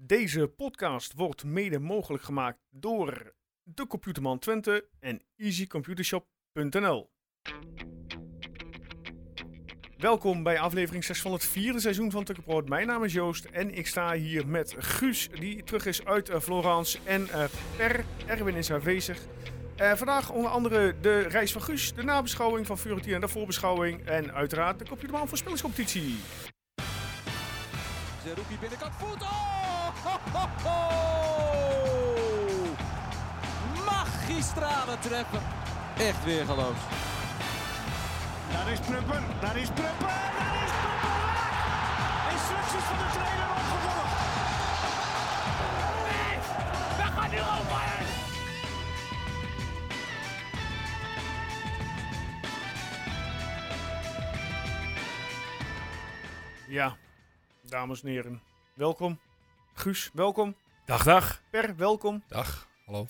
Deze podcast wordt mede mogelijk gemaakt door de Computerman Twente en easycomputershop.nl. Welkom bij aflevering 6 van het vierde seizoen van Tukkenproot. Mijn naam is Joost en ik sta hier met Guus, die terug is uit eh, Florence, en eh, Per. Erwin is aanwezig. Eh, vandaag onder andere de reis van Guus, de nabeschouwing van Fiorentina en de voorbeschouwing. En uiteraard de Computerman voorspellingscompetitie. Zerouki binnenkant voet. Oh! Ho, ho, ho! Magistrale treppen. Echt weer geloof. Daar is Prupper, daar is Prupper, daar is Prupper! Instructies van de trainer opgevolgd. Ja, dames en heren, welkom. Guus, welkom. Dag, dag. Per, welkom. Dag, hallo.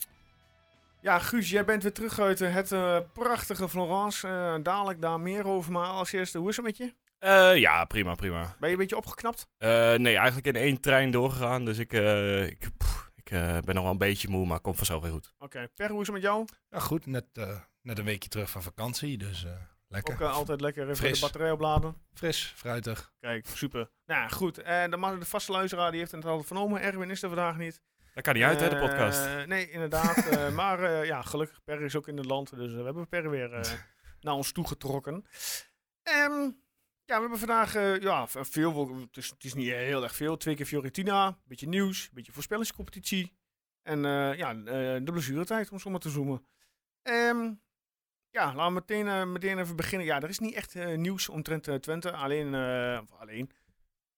Ja, Guus, jij bent weer terug uit eh, het eh, prachtige Florence. Eh, dadelijk daar meer over, maar als eerste, hoe is het met je? Eh, ja, prima, prima. Ben je een beetje opgeknapt? Eh, nee, eigenlijk in één trein doorgegaan, dus ik, eh, ik, pff, ik eh, ben nog wel een beetje moe, maar komt vanzelf weer goed. Oké, Per, hoe is het met jou? Ja, goed. Net, eh, net een weekje terug van vakantie. Dus eh, lekker. Ook eh, altijd lekker even Fris. de batterij opladen. Fris, fruitig. Kijk, super. Nou ja, goed, Eh, de, man- de vaste luisteraar die heeft het al vernomen. Erwin is er vandaag niet. Dat kan niet uit, hè, de Eh, podcast. nee, inderdaad. Eh, maar eh, ja, gelukkig, Per is ook in het land. Dus eh, we hebben Per weer eh, naar ons toegetrokken. Ehm, ja, we hebben vandaag eh, ja, v- veel, het is, het is niet heel erg veel. Twee keer Fiorentina, beetje nieuws, beetje voorspellingscompetitie. En eh, ja, eh, de blessuretijd, om zo maar te zoomen. Ehm, ja, laten we meteen, eh, meteen even beginnen. Ja, er is niet echt eh, nieuws omtrent eh, Twente. Alleen, eh, of alleen,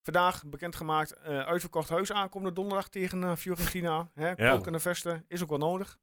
Vandaag bekendgemaakt, eh uitverkocht huis aankomende donderdag tegen eh, Fiorentina. Hè, Ja. Kokende vesten, is ook wel nodig.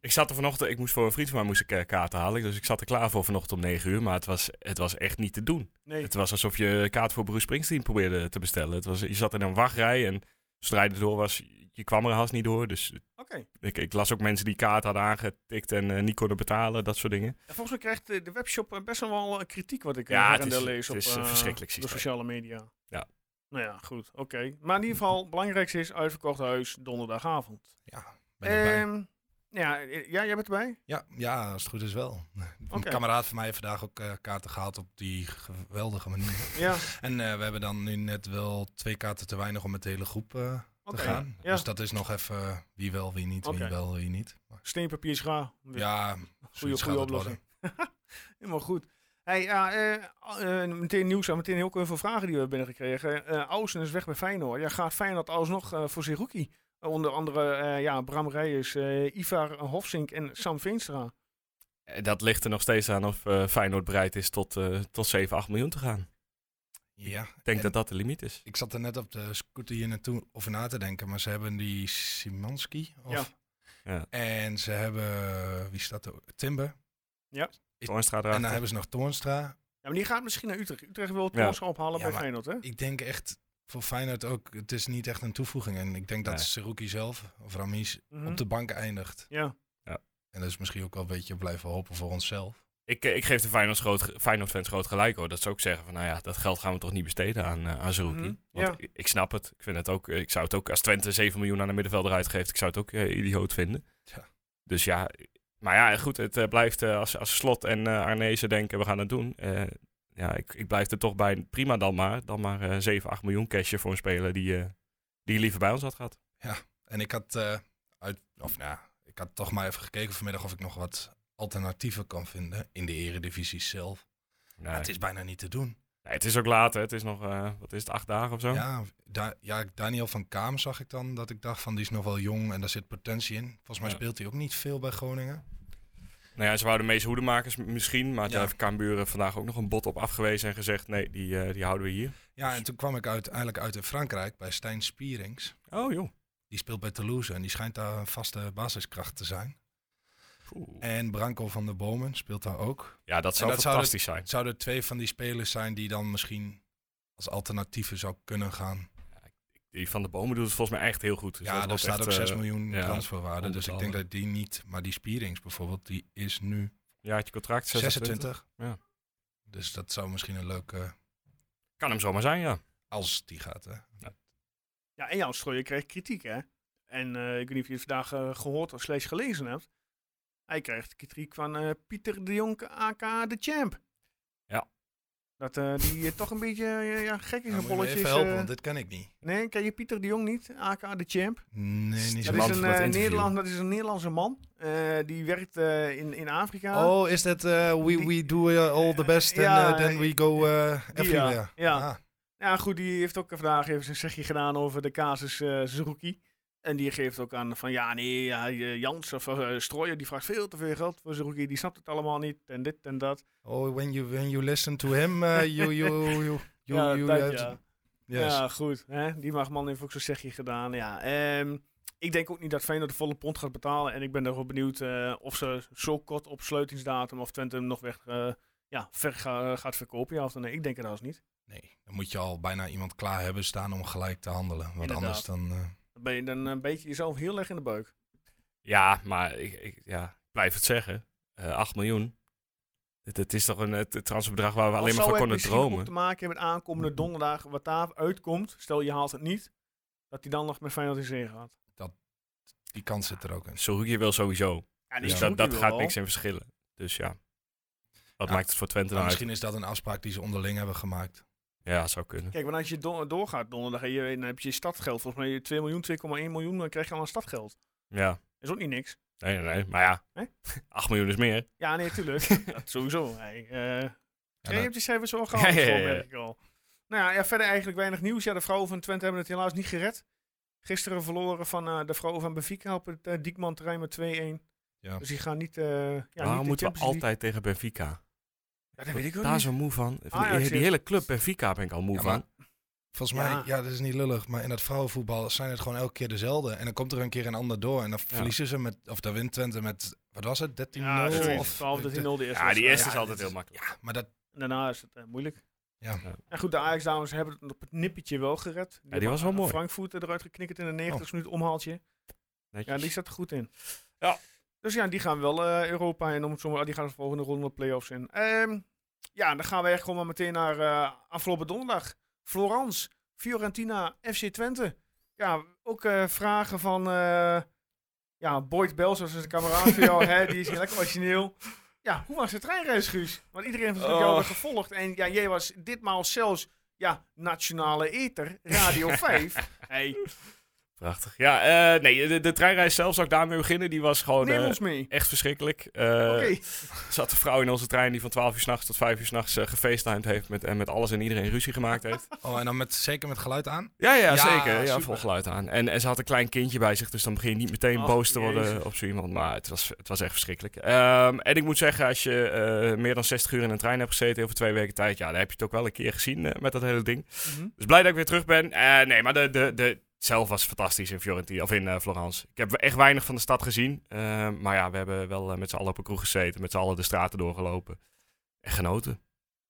Ik zat er vanochtend, ik moest voor een vriend van mij moest ik, eh, kaarten halen, dus ik zat er klaar voor vanochtend om 9 uur, maar het was, het was echt niet te doen. Nee, Het was alsof je kaart voor Bruce Springsteen probeerde te bestellen. Het was, je zat in een wachtrij en zodra je er door was, je kwam er haast niet door. Dus oké. ik, ik las ook mensen die kaart hadden aangetikt en eh, niet konden betalen, dat soort dingen. En Volgens mij krijgt eh, de webshop eh, best wel wel eh, kritiek wat ik Ja, ja, het is- lees het op is, eh, eh, verschrikkelijk de systeem. sociale media. Ja. Nou ja, goed, oké. Maar in ieder geval, belangrijkste is uitverkocht huis donderdagavond. Ja, ben erbij. Ehm, ja, eh, ja, jij bent erbij? ja, ja, als het goed is wel. Een Oké. kameraad van mij heeft vandaag ook eh, kaarten gehaald op die geweldige manier. Ja, en eh, we hebben dan nu net wel twee kaarten te weinig om met de hele groep eh, oké. te gaan. Ja. Dus dat is nog even eh, wie wel, wie niet, Oké. wie wel, wie niet. Maar, Steen, papier, schaar. ja, Goeie, zoiets gaat goede het oplossing. worden. Helemaal goed. Hey, ja, eh, eh, meteen nieuws en meteen heel veel vragen die we hebben binnengekregen. Eh Ausen is weg bij Feyenoord. Ja, gaat Feyenoord alsnog eh, voor zijn rookie? Eh, onder andere eh, ja, Bram Reijers, eh, Ivar Hofsink en Sam Veenstra. Eh, Dat ligt er nog steeds aan of eh, Feyenoord bereid is tot, eh, tot 7, 8 miljoen te gaan. Ja, Ik denk en- dat dat de limiet is. Ik zat er net op de scooter hier naartoe over na te denken, maar ze hebben die Simanski. Of, Ja. Ja. En ze hebben, eh, wie staat er? Timber. Ik- Toornstra En erachter. dan hebben ze nog Toornstra. Ja, maar die gaat misschien naar Utrecht. Utrecht wil het Ja. ons ophalen Ja, bij maar- Feyenoord, hè? Ik denk echt voor Feyenoord ook, het is niet echt een toevoeging. En ik denk dat Nee. Seruki zelf, of Ramis, Mhm. op de bank eindigt. Ja, En dat is misschien ook wel een beetje blijven hopen voor onszelf. ik, eh, ik geef de Feyenoord groot, ge- Feyenoord-fans groot gelijk hoor. Dat ze ook zeggen van, nou ja, dat geld gaan we toch niet besteden aan, eh aan Zerouki. Mhm, Want ja. ik, ik snap het. Ik, vind het ook, eh, ik zou het ook, als Twente 7 miljoen aan de middenvelder uitgeeft, ik zou het ook eh, idioot vinden. Tja. Dus ja, eh, maar ja, goed, het eh, blijft eh, als, als Slot en eh Arnezen denken, we gaan het doen. eh, ja, ik, ik blijf er toch bij, prima dan maar, dan maar eh 7, 8 miljoen cashje voor een speler die, eh, die liever bij ons had gehad. En ik had, eh, uit, of nou, ja, ik had toch maar even gekeken vanmiddag of ik nog wat alternatieven kan vinden in de eredivisie zelf. Nee. Maar het is bijna niet te doen. Nee, het is ook later. Het is nog, eh, wat is het, acht dagen of zo? Ja, da ja, Daniel van Kaam zag ik dan. Dat ik dacht van die is nog wel jong en daar zit potentie in. Volgens mij Ja. speelt hij ook niet veel bij Groningen. Nou ja, ze wouden Mees Hoedemakers m- misschien, maar Ja. daar heeft Cambuur vandaag ook nog een bod op afgewezen en gezegd, nee, die, eh, die houden we hier. Ja, en toen kwam ik uiteindelijk uit in Frankrijk bij Stijn Spierings. Oh joh. Die speelt bij Toulouse en die schijnt daar een vaste basiskracht te zijn. En Branco van der Bomen speelt daar ook. Ja, dat zou dat zou fantastisch zijn. Het zouden twee van die spelers zijn die dan misschien als alternatieven zou kunnen gaan. Die van de Bomen doet het volgens mij echt heel goed. Dus ja, dat daar wordt staat echt, ook 6 eh, miljoen ja, transferwaarde. Dus ik denk onbetaalde. dat die niet. Maar die Spierings bijvoorbeeld, die is nu Jaartje contract, 26. 26. Ja. Dus dat zou misschien een leuke Kan hem zomaar zijn, ja. als die gaat. Hè? Ja, en Jan Strooijer kreeg kritiek, hè. En eh, ik weet niet of je het vandaag eh, gehoord of slechts gelezen hebt. Hij kreeg de kritiek van eh, Pieter de Jonk, aka de Champ. Ja. Dat eh, die eh, toch een beetje eh, ja, gek is een Nou, moet je me bolletjes. even helpen, eh. want dit ken ik niet. nee, ken je Pieter de Jong niet, aka de Champ? Nee, niet is zo Dat is, een, een land lang. voor dat eh, interview. Nederland, dat is een Nederlandse man. Eh, die werkt eh, in, in Afrika. Oh, is dat eh, we, Die- we do eh, all the best and Ja, eh, then we go eh, die, everywhere? ja. Ah, Ja, goed, die heeft ook vandaag even zijn zegje gedaan over de casus eh Suzuki. En die geeft ook aan van, ja, nee, ja, eh, Jans of eh, Strooijer, die vraagt veel te veel geld voor Suzuki. Die snapt het allemaal niet en dit en dat. Oh, when you, when you listen to him, eh, you, you, you, you, ja, you dat, have ja. to- Yes. Ja, goed. Hè? Die mag man heeft ook zijn zegje gedaan. Ja, ehm, ik denk ook niet dat Feyenoord de volle pond gaat betalen. En ik ben er wel benieuwd eh, of ze zo kort op sluitingsdatum of Twente hem nog weg eh, ja, ver ga- eh, gaat verkopen. Ja, of dan, nee, ik denk het haast niet. Nee, dan moet je al bijna iemand klaar hebben staan om gelijk te handelen. Want Inderdaad. anders dan... eh, Dan ben je dan een beetje jezelf heel erg in de buik. Ja, maar ik, ik, ja, ik blijf het zeggen. Eh 8 miljoen. Het, het is toch een eh, transferbedrag waar we alleen maar zou van het konden misschien ook dromen. Mm. te maken hebben met aankomende donderdag, wat daar uitkomt, stel je haalt het niet, dat hij dan nog met Feyenoord in zee gaat. die kans zit er ook in. Sorugi wil sowieso. Ja, Dus Ja. dat, dat gaat niks niks in verschillen. Dus ja. Wat Ja. maakt het voor Twente Maar nou uit? misschien is dat een afspraak die ze onderling hebben gemaakt. Ja, zou kunnen. Kijk, want als je don- doorgaat donderdag en je, dan heb je stadgeld. Volgens mij 2 miljoen, 2,1 miljoen, dan krijg je al aan stadgeld. Ja. is ook niet niks. Nee, nee, nee. Maar ja. Hè? 8 miljoen is meer. Ja, nee, tuurlijk. dat sowieso. Hey, eh, Ja, ja, je nou, hebt die cijfers al Ja, gehaald, ja, zo ja, merk ik al. Nou ja, ja, verder eigenlijk weinig nieuws. Ja, de vrouwen van Twente hebben het helaas niet gered. Gisteren verloren van eh, de vrouwen van Benfica op het eh, Diekman terrein met 2-1. Ja. Dus die gaan niet... eh ja, niet de Waarom moeten we Champions League. Ah, altijd tegen Benfica? Ja, dat weet ik ook Daar niet. zo moe van. Van Ajax die- die, heeft- hele club Benfica ben ik al moe Ja, maar- van. volgens ja. mij, ja, dat is niet lullig, maar in het vrouwenvoetbal zijn het gewoon elke keer dezelfde. En dan komt er een keer een ander door en dan verliezen ze met, of dan wint Twente met, wat was het, 13-0? Ja, zoiets. of 12 13-0 de eerste Ja, die wedstrijd. eerste Ja, is altijd dit- heel makkelijk. Ja, maar dat, En daarna is het eh, moeilijk. Ja. Ja. En goed, de Ajax-dames hebben het op het nippertje wel gered. Die, was hebben wel mooi. Oh. Frankfurt eruit geknikkerd in de 90 minuut omhaaltje. Ja, Netjes. die zat er goed in. Ja. Dus ja, die gaan wel eh, Europa in. Om het zo maar- die gaan de volgende ronde de play-offs in. Ehm, ja, dan gaan we echt gewoon maar meteen naar eh, afgelopen donderdag. Florence, Fiorentina, FC Twente. Ja, ook eh, vragen van eh, ja, Boyd Bels, dat is een kameraad van jou. Hè, die is hier lekker origineel. Ja, hoe was de treinreis, Guus? Want iedereen heeft natuurlijk jou Oh. weer gevolgd. En ja, jij was ditmaal zelfs ja, nationale eter, Radio 5. Hey, Prachtig. Ja, eh, nee, de, de treinreis zelf zou ik daarmee beginnen. Die was gewoon neem eh, ons mee. echt verschrikkelijk. Eh, Oké. Er zat een vrouw in onze trein die van 12 uur s'nachts tot 5 uur s'nachts eh gefacetimed heeft met, en met alles en iedereen ruzie gemaakt heeft. oh, en dan met, zeker met geluid aan? Ja, ja, Ja, zeker. Ja, super. vol geluid aan. En, en ze had een klein kindje bij zich, dus dan begin je niet meteen Ach, boos te worden jezus. op zo iemand. Maar het was, het was echt verschrikkelijk. Ehm, en ik moet zeggen, als je eh, meer dan 60 uur in een trein hebt gezeten over twee weken tijd, ja, dan heb je het ook wel een keer gezien eh, met dat hele ding. Mhm. Dus blij dat ik weer terug ben. Eh, nee, maar de, de, de, zelf was fantastisch in Fiorentina, of in eh, Florence. Ik heb echt weinig van de stad gezien. Eh, maar ja, we hebben wel eh, met z'n allen op een kroeg gezeten, met z'n allen de straten doorgelopen. En genoten.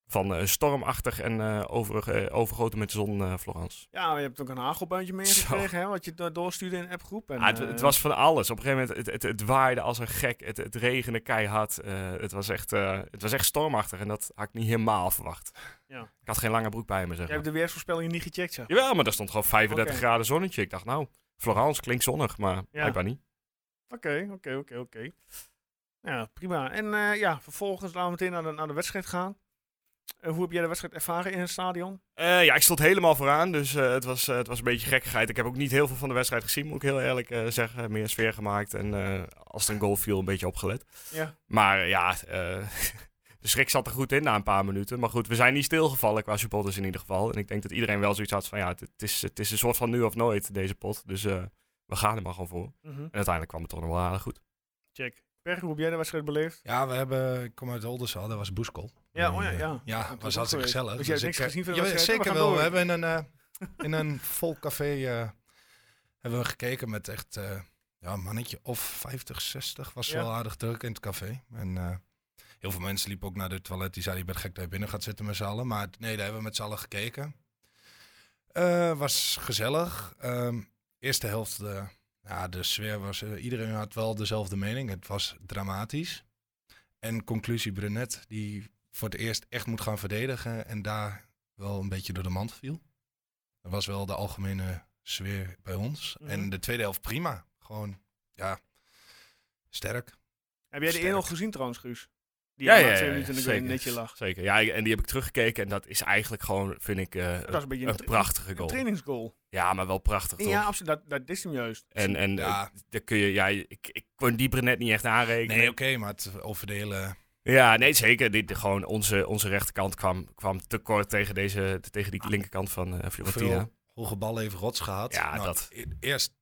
Van eh, een stormachtig en eh, overig- eh, overgoten met zon eh, Florence. Ja, maar je hebt ook een hagelbuintje meegekregen, hè? Wat je do- doorstuurde in de appgroep. En, Ah, het, eh, het was van alles. Op een gegeven moment, het, het, het waaide als een gek. Het, het regende keihard. Eh, het, was echt, eh, het was echt stormachtig en dat had ik niet helemaal verwacht. Ja. Ik had geen lange broek bij me, zeg Je maar. hebt de weersvoorspelling niet gecheckt, zeg. Jawel, maar daar stond gewoon 35 Oké. graden zonnetje. Ik dacht, nou, Florence klinkt zonnig, maar blijkbaar niet. Oké, oké, oké, oké. Ja, prima. En eh, ja, vervolgens laten we meteen naar de, naar de wedstrijd gaan. Eh, hoe heb jij de wedstrijd ervaren in het stadion? Eh, ja, ik stond helemaal vooraan, dus eh, het, was, eh, het was een beetje gekkigheid. Ik heb ook niet heel veel van de wedstrijd gezien, moet ik heel eerlijk eh, zeggen. Meer sfeer gemaakt en eh, als er een goal viel, een beetje opgelet. Ja. Maar eh, ja, eh, de schrik zat er goed in na een paar minuten. Maar goed, we zijn niet stilgevallen qua supporters in ieder geval. En ik denk dat iedereen wel zoiets had van, ja, het, het is, het is een soort van nu of nooit, deze pot. Dus eh, we gaan er maar gewoon voor. En uiteindelijk kwam het toch nog wel aardig goed. Check. Per, hoe heb jij de wedstrijd beleefd? Ja, we hebben, ik kom uit Oldenzaal, daar was Boeskool. Ja, En, oh ja, eh, ja. Dat Ja, was was ook hartstikke geweest. gezellig. Dus jij hebt ik, niks eh, gezien van de jawel, wedstrijd? Zeker We gaan wel. We door. hebben in een, eh, in een vol café eh, hebben we gekeken met echt eh, ja, een mannetje of 50, 60. Was Ja. wel aardig druk in het café. En eh, heel veel mensen liepen ook naar de toilet. Die zeiden, je bent gek dat je binnen gaat zitten met z'n allen. Maar nee, daar hebben we met z'n allen gekeken. Eh, was gezellig. Ehm, eerste helft, eh, ja, de sfeer was... eh, iedereen had wel dezelfde mening. Het was dramatisch. En conclusie Brunet, die voor het eerst echt moet gaan verdedigen en daar wel een beetje door de mand viel. Dat was wel de algemene sfeer bij ons. Mhm. En de tweede helft prima. Gewoon, ja, sterk. Heb jij de Sterk. 1-0 gezien trouwens, Guus? Die Ja, ja, ja, ja, twee ja, minuten in de zeker. goal netje lag. Zeker. Ja, en die heb ik teruggekeken. En dat is eigenlijk gewoon, vind ik, eh, Dat is een beetje een, een, tra- prachtige een goal. trainingsgoal. Ja, maar wel prachtig, toch? Ja, absoluut. Dat, dat is hem juist. En, en Ja. eh, daar kun je, ja, ik, ik kon diepere net niet echt aanrekenen. Nee, oké, maar het over de hele... Ja, nee, zeker. Dit, gewoon onze, onze rechterkant kwam, kwam tekort tegen, deze, tegen Ah. die linkerkant van eh Fiorentina. Hoeveel hoge bal heeft rots gehad. Ja, dat. e- Eerst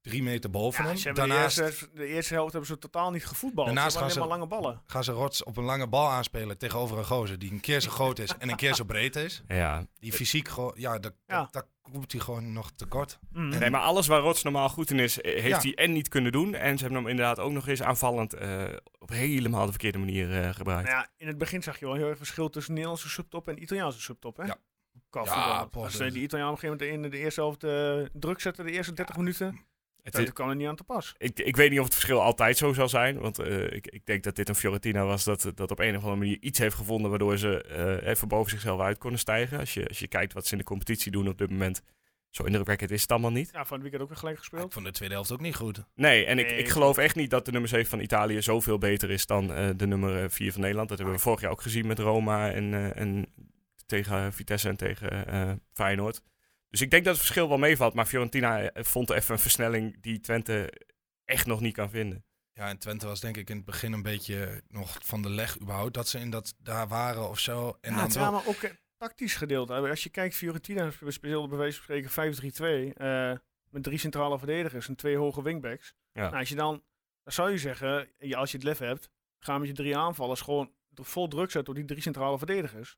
drie meter boven Ja, hem. ze hebben Daarnaast de, eerste, de eerste helft hebben ze totaal niet gevoetbald. Daarnaast Daarnaast ze hebben gaan alleen maar lange ballen. gaan ze rots op een lange bal aanspelen tegenover een gozer die een keer zo groot is en een keer zo breed is. Ja. Die fysiek gewoon, ja, dat- Ja. dat- daar komt hij gewoon nog tekort. Mhm. Nee, maar alles waar Rots normaal goed in is, eh, heeft Ja. hij en niet kunnen doen. En ze hebben hem inderdaad ook nog eens aanvallend eh, op helemaal de verkeerde manier eh, gebruikt. Nou ja, in het begin zag je wel heel erg verschil tussen Nederlandse subtop en Italiaanse subtop. Hè? Ja. Qua Ja, voetbal. boah, Als dat eh, is- die Italiaan op een gegeven moment in de eerste helft eh, druk zetten, de eerste 30 minuten, Het is- toen kwam er niet aan te pas. ik, ik weet niet of het verschil altijd zo zal zijn. Want eh, ik, ik denk dat dit een Fiorentina was dat, eh, dat op een of andere manier iets heeft gevonden waardoor ze eh, even boven zichzelf uit konden stijgen. Als je, als je kijkt wat ze in de competitie doen op dit moment, zo indrukwekkend is het allemaal niet. Ja, van het weekend ook weer gelijk Ik gespeeld. vond de tweede helft ook niet goed. Nee, en ik, Nee. ik geloof echt niet dat de nummer 7 van Italië zoveel beter is dan eh, de nummer 4 van Nederland. Dat hebben we vorig jaar ook gezien met Roma en, eh, en tegen eh, Vitesse en tegen eh, Feyenoord. Dus ik denk dat het verschil wel meevalt. Maar Fiorentina eh, vond even een versnelling die Twente echt nog niet kan vinden. Ja, en Twente was denk ik in het begin een beetje nog van de leg überhaupt. Dat ze in dat daar waren of zo. En Ja, dan het waren maar ook eh, tactisch gedeeld. Als je kijkt, Fiorentina speelde bij wijze van spreken 5-3-2 eh, met drie centrale verdedigers en twee hoge wingbacks. Ja. Nou, als je dan, dan zou je zeggen, ja, als je het lef hebt, ga met je drie aanvallers gewoon d- vol druk zetten op die drie centrale verdedigers.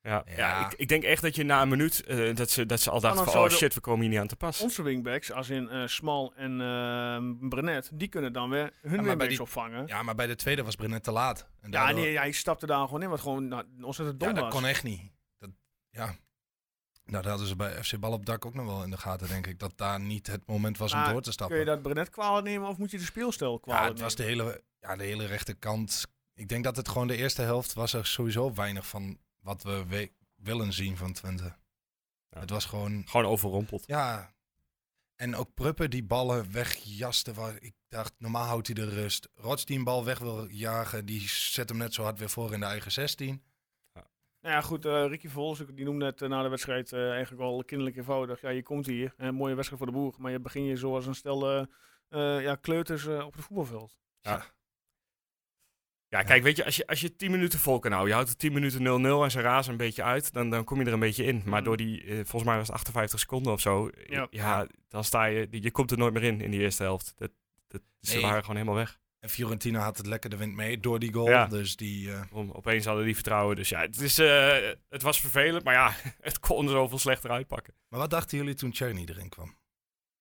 Ja, ja. Ja. ik, ik denk echt dat je na een minuut eh, dat, ze, dat ze al dachten dan van oh zouden- shit, we komen hier niet aan te pas. Onze wingbacks, als in eh, Smal en eh Brenet, die kunnen dan weer hun maar bij wingbacks die- opvangen. Ja, maar bij de tweede was Brenet te laat. En Ja, daardoor- nee, ja, hij stapte daar gewoon in, wat gewoon nou, ontzettend dom ja, dat was. kon echt niet. Dat, ja. Nou, dat hadden ze bij FC Bal op dak ook nog wel in de gaten, denk ik. Dat daar niet het moment was om Maar door te stappen. Kun je dat Brenet kwalijk nemen of moet je de speelstijl ja, kwalijk het was de nemen? hele, ja, de hele rechterkant. Ik denk dat het gewoon de eerste helft was er sowieso weinig van wat we we- willen zien van Twente. Ja. Het was gewoon, Gewoon overrompeld. ja. En ook Pruppen die ballen wegjaste. Waar ik dacht, normaal houdt hij de rust. Rots die een bal weg wil jagen, die zet hem net zo hard weer voor in de eigen 16. Nou ja, goed, eh Ricky Vols, die noemde het eh, na de wedstrijd eh, eigenlijk al kinderlijk eenvoudig. Ja, je komt hier, een mooie wedstrijd voor de boer, maar je begin je zoals een stel eh, eh, ja, kleuters eh, op het voetbalveld. Ja, kijk, weet je, als je, als je 10 minuten vol kan houden, je houdt het 10 minuten 0-0 en ze razen een beetje uit, dan, dan kom je er een beetje in. Maar Mm. door die, eh, volgens mij was het 58 seconden of zo, eh, ja, Ja. dan sta je, je komt er nooit meer in, in die eerste helft. Dat, dat, ze Nee. waren gewoon helemaal weg. En Fiorentina had het lekker de wind mee door die goal. Ja. Dus die, eh, Om, opeens hadden die vertrouwen, dus ja, het, is, eh, het was vervelend, maar ja, het kon zoveel slechter uitpakken. Maar wat dachten jullie toen Cherny erin kwam?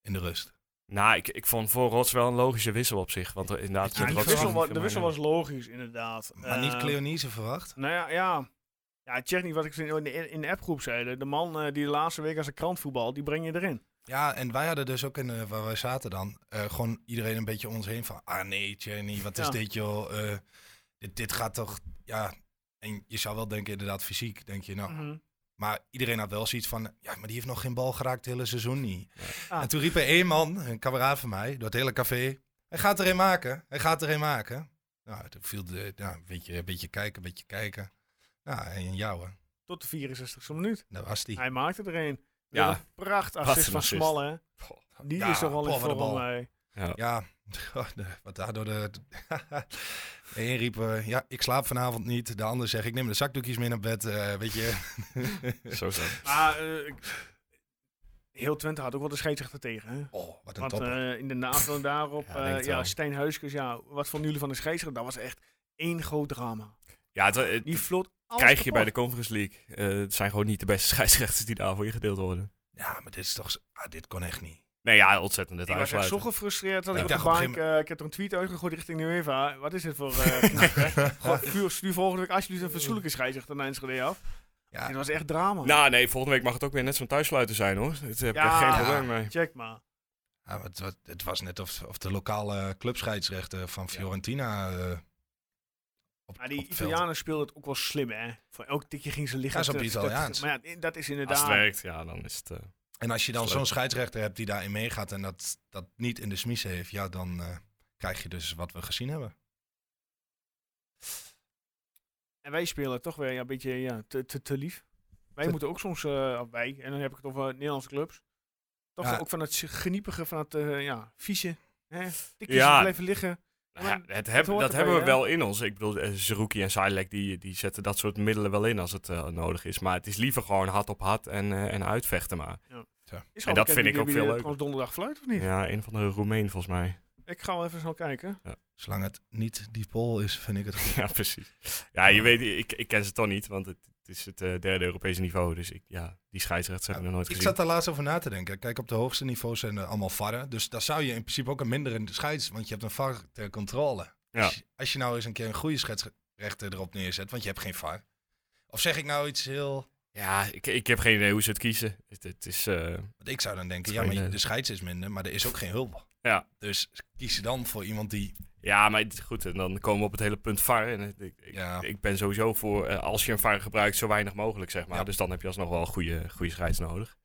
In de rust. Nou, ik, ik vond voor Rots wel een logische wissel op zich, want eh, inderdaad... Ja, Rots die de, was wissel gewoon was, viel de mij wissel naar- was logisch, inderdaad. Maar niet Eh, Cleonise verwacht? Nou ja, ja. Ja, check niet wat ik in de, in de appgroep zeiden. De man eh, die de laatste week als een krant voetbal, die breng je erin. Ja, en wij hadden dus ook in de, waar wij zaten dan, eh, gewoon iedereen een beetje om ons heen van, ah nee, Cherny, wat is Ja. dit joh? Eh, dit, dit gaat toch, ja. En je zou wel denken, inderdaad, fysiek, denk je nou. Mhm. Maar iedereen had wel zoiets van, ja, maar die heeft nog geen bal geraakt het hele seizoen niet. Ah. En toen riep er één man, een kameraad van mij, door het hele café, hij gaat er een maken, hij gaat er een maken. Nou, toen viel de, nou, een beetje, een beetje kijken, een beetje kijken. Nou, en jou, hè. Tot de 64 e minuut. daar was die. Hij maakte er een. Ja. Ja. Een prachtig Wat assist een van assist. Smal, hè. Goh, Die ja, is toch wel in poh, wat een vorm, bal. hè. Ja, oh, de- wat daardoor de... De een riep, eh, ja, ik slaap vanavond niet. De ander zegt, ik neem de zakdoekjes mee naar bed. eh, weet je, Zo is dat. Maar eh, ik- heel Twente had ook wel de scheidsrechter tegen, hè. oh, wat een Want top. eh, in de naam daarop, eh, Ja, denk ja, het wel. ja Stijn Huiskes, ja, wat vonden jullie van de scheidsrechter? Dat was echt één groot drama. Ja, het, het Die vlot alles krijg je bij de kapot. Conference League. Eh, het zijn gewoon niet de beste scheidsrechters die daar voor je gedeeld worden. ja, maar dit is toch... z- Ah, dit kon echt niet. Nee, ja, ontzettend. Het Ik was echt uitsluiten. zo gefrustreerd dat Ja. ik Ik op de dacht op een bank... eh, ik heb er een tweet uitgegooid richting de UEFA. Wat is dit voor... eh knak, hè? Gewoon vuur, stuur volgende week alsjeblieft een fatsoenlijke scheidsrechter naar Enschede af. Ja. Dit was echt drama. Nou, nee, volgende week mag het ook weer net zo'n thuissluiter zijn hoor. Daar heb ik Ja. echt geen Ja. probleem mee. Check maar. Ja, maar het, wa- het was net of, of de lokale clubscheidsrechter van Fiorentina... eh, op, Maar op die het veld. Italianen speelden het ook wel slim, hè? Voor elk tikje ging ze liggen. Ja, zo'n te- Italiaans. te- Maar ja, dat is Als inderdaad... het werkt, ja, dan is het. eh, En En als je dan Leuk. zo'n scheidsrechter hebt die daarin meegaat en dat, dat niet in de smissen heeft, ja, dan eh, krijg je dus wat we gezien hebben. En wij spelen toch weer ja, een beetje ja, te, te, te lief. Wij Te- moeten ook soms, eh, of wij, en dan heb ik het over Nederlandse clubs, toch Ja. ook van het geniepige, van het eh, ja, vieze, hè, tikjes Ja. blijven liggen. Nou ja, Maar het heb- hoort dat erbij, hebben we hè? wel in ons. Ik bedoel, eh, Zerouki en Silek die, die zetten dat soort middelen wel in als het eh, nodig is. Maar het is liever gewoon hard op hard en, eh, en uitvechten maar. Is En wel dat bekend vind ik wie- ook wie veel er leuker. trouwens donderdag fluit of niet? Ja, een van de Roemeen volgens mij. Ik ga wel even snel kijken. Zolang het niet die pol is, vind ik het goed. Ja, precies. Ja, je weet, ik, ik ken ze toch niet, want het, het is het eh, derde Europese niveau. Dus ik, ja, die scheidsrechters heb ik nog nooit Ik gezien. zat daar laatst over na te denken. Kijk, op de hoogste niveaus zijn er allemaal varren. Dus daar zou je in principe ook een mindere scheids... Want je hebt een var ter controle. Ja. Als, je, als je nou eens een keer een goede scheidsrechter erop neerzet... Want je hebt geen var. Of zeg ik nou iets heel... Ja, ik, ik heb geen idee hoe ze het kiezen. Het, het is, eh, Want ik zou dan denken, Dat ja, is maar geen, je- eh, de scheids is minder, maar er is ook geen hulp. Ja. Dus kies je dan voor iemand die... ja, maar het- goed, en dan komen we op het hele punt VAR. En het- ik, ik, Ja. ik ben sowieso voor, eh, als je een VAR gebruikt, zo weinig mogelijk, zeg maar. Ja. Dus dan heb je alsnog wel een goede, goede scheids nodig.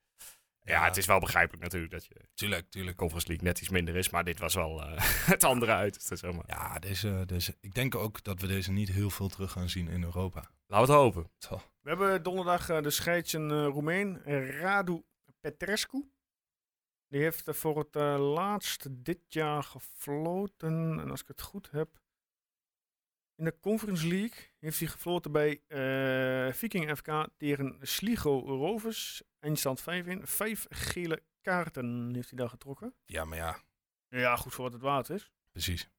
Ja, Ja. het is wel begrijpelijk natuurlijk dat je Tuurlijk, de tuurlijk. Conference League net iets minder is. Maar dit was wel eh, het andere uiterste, zeg maar. Ja, deze, deze, ik denk ook dat we deze niet heel veel terug gaan zien in Europa. Laten we het hopen. Zo. We hebben donderdag eh, de scheids een eh, Roemeen, eh, Radu Petrescu. Die heeft eh, voor het eh, laatst dit jaar gefloten. En als ik het goed heb. In de Conference League heeft hij gefloten bij eh, Viking FK tegen Sligo Rovers. Eindstand 5 in. Vijf gele kaarten heeft hij daar getrokken. Ja, maar ja, Ja, goed voor wat het waard is. precies.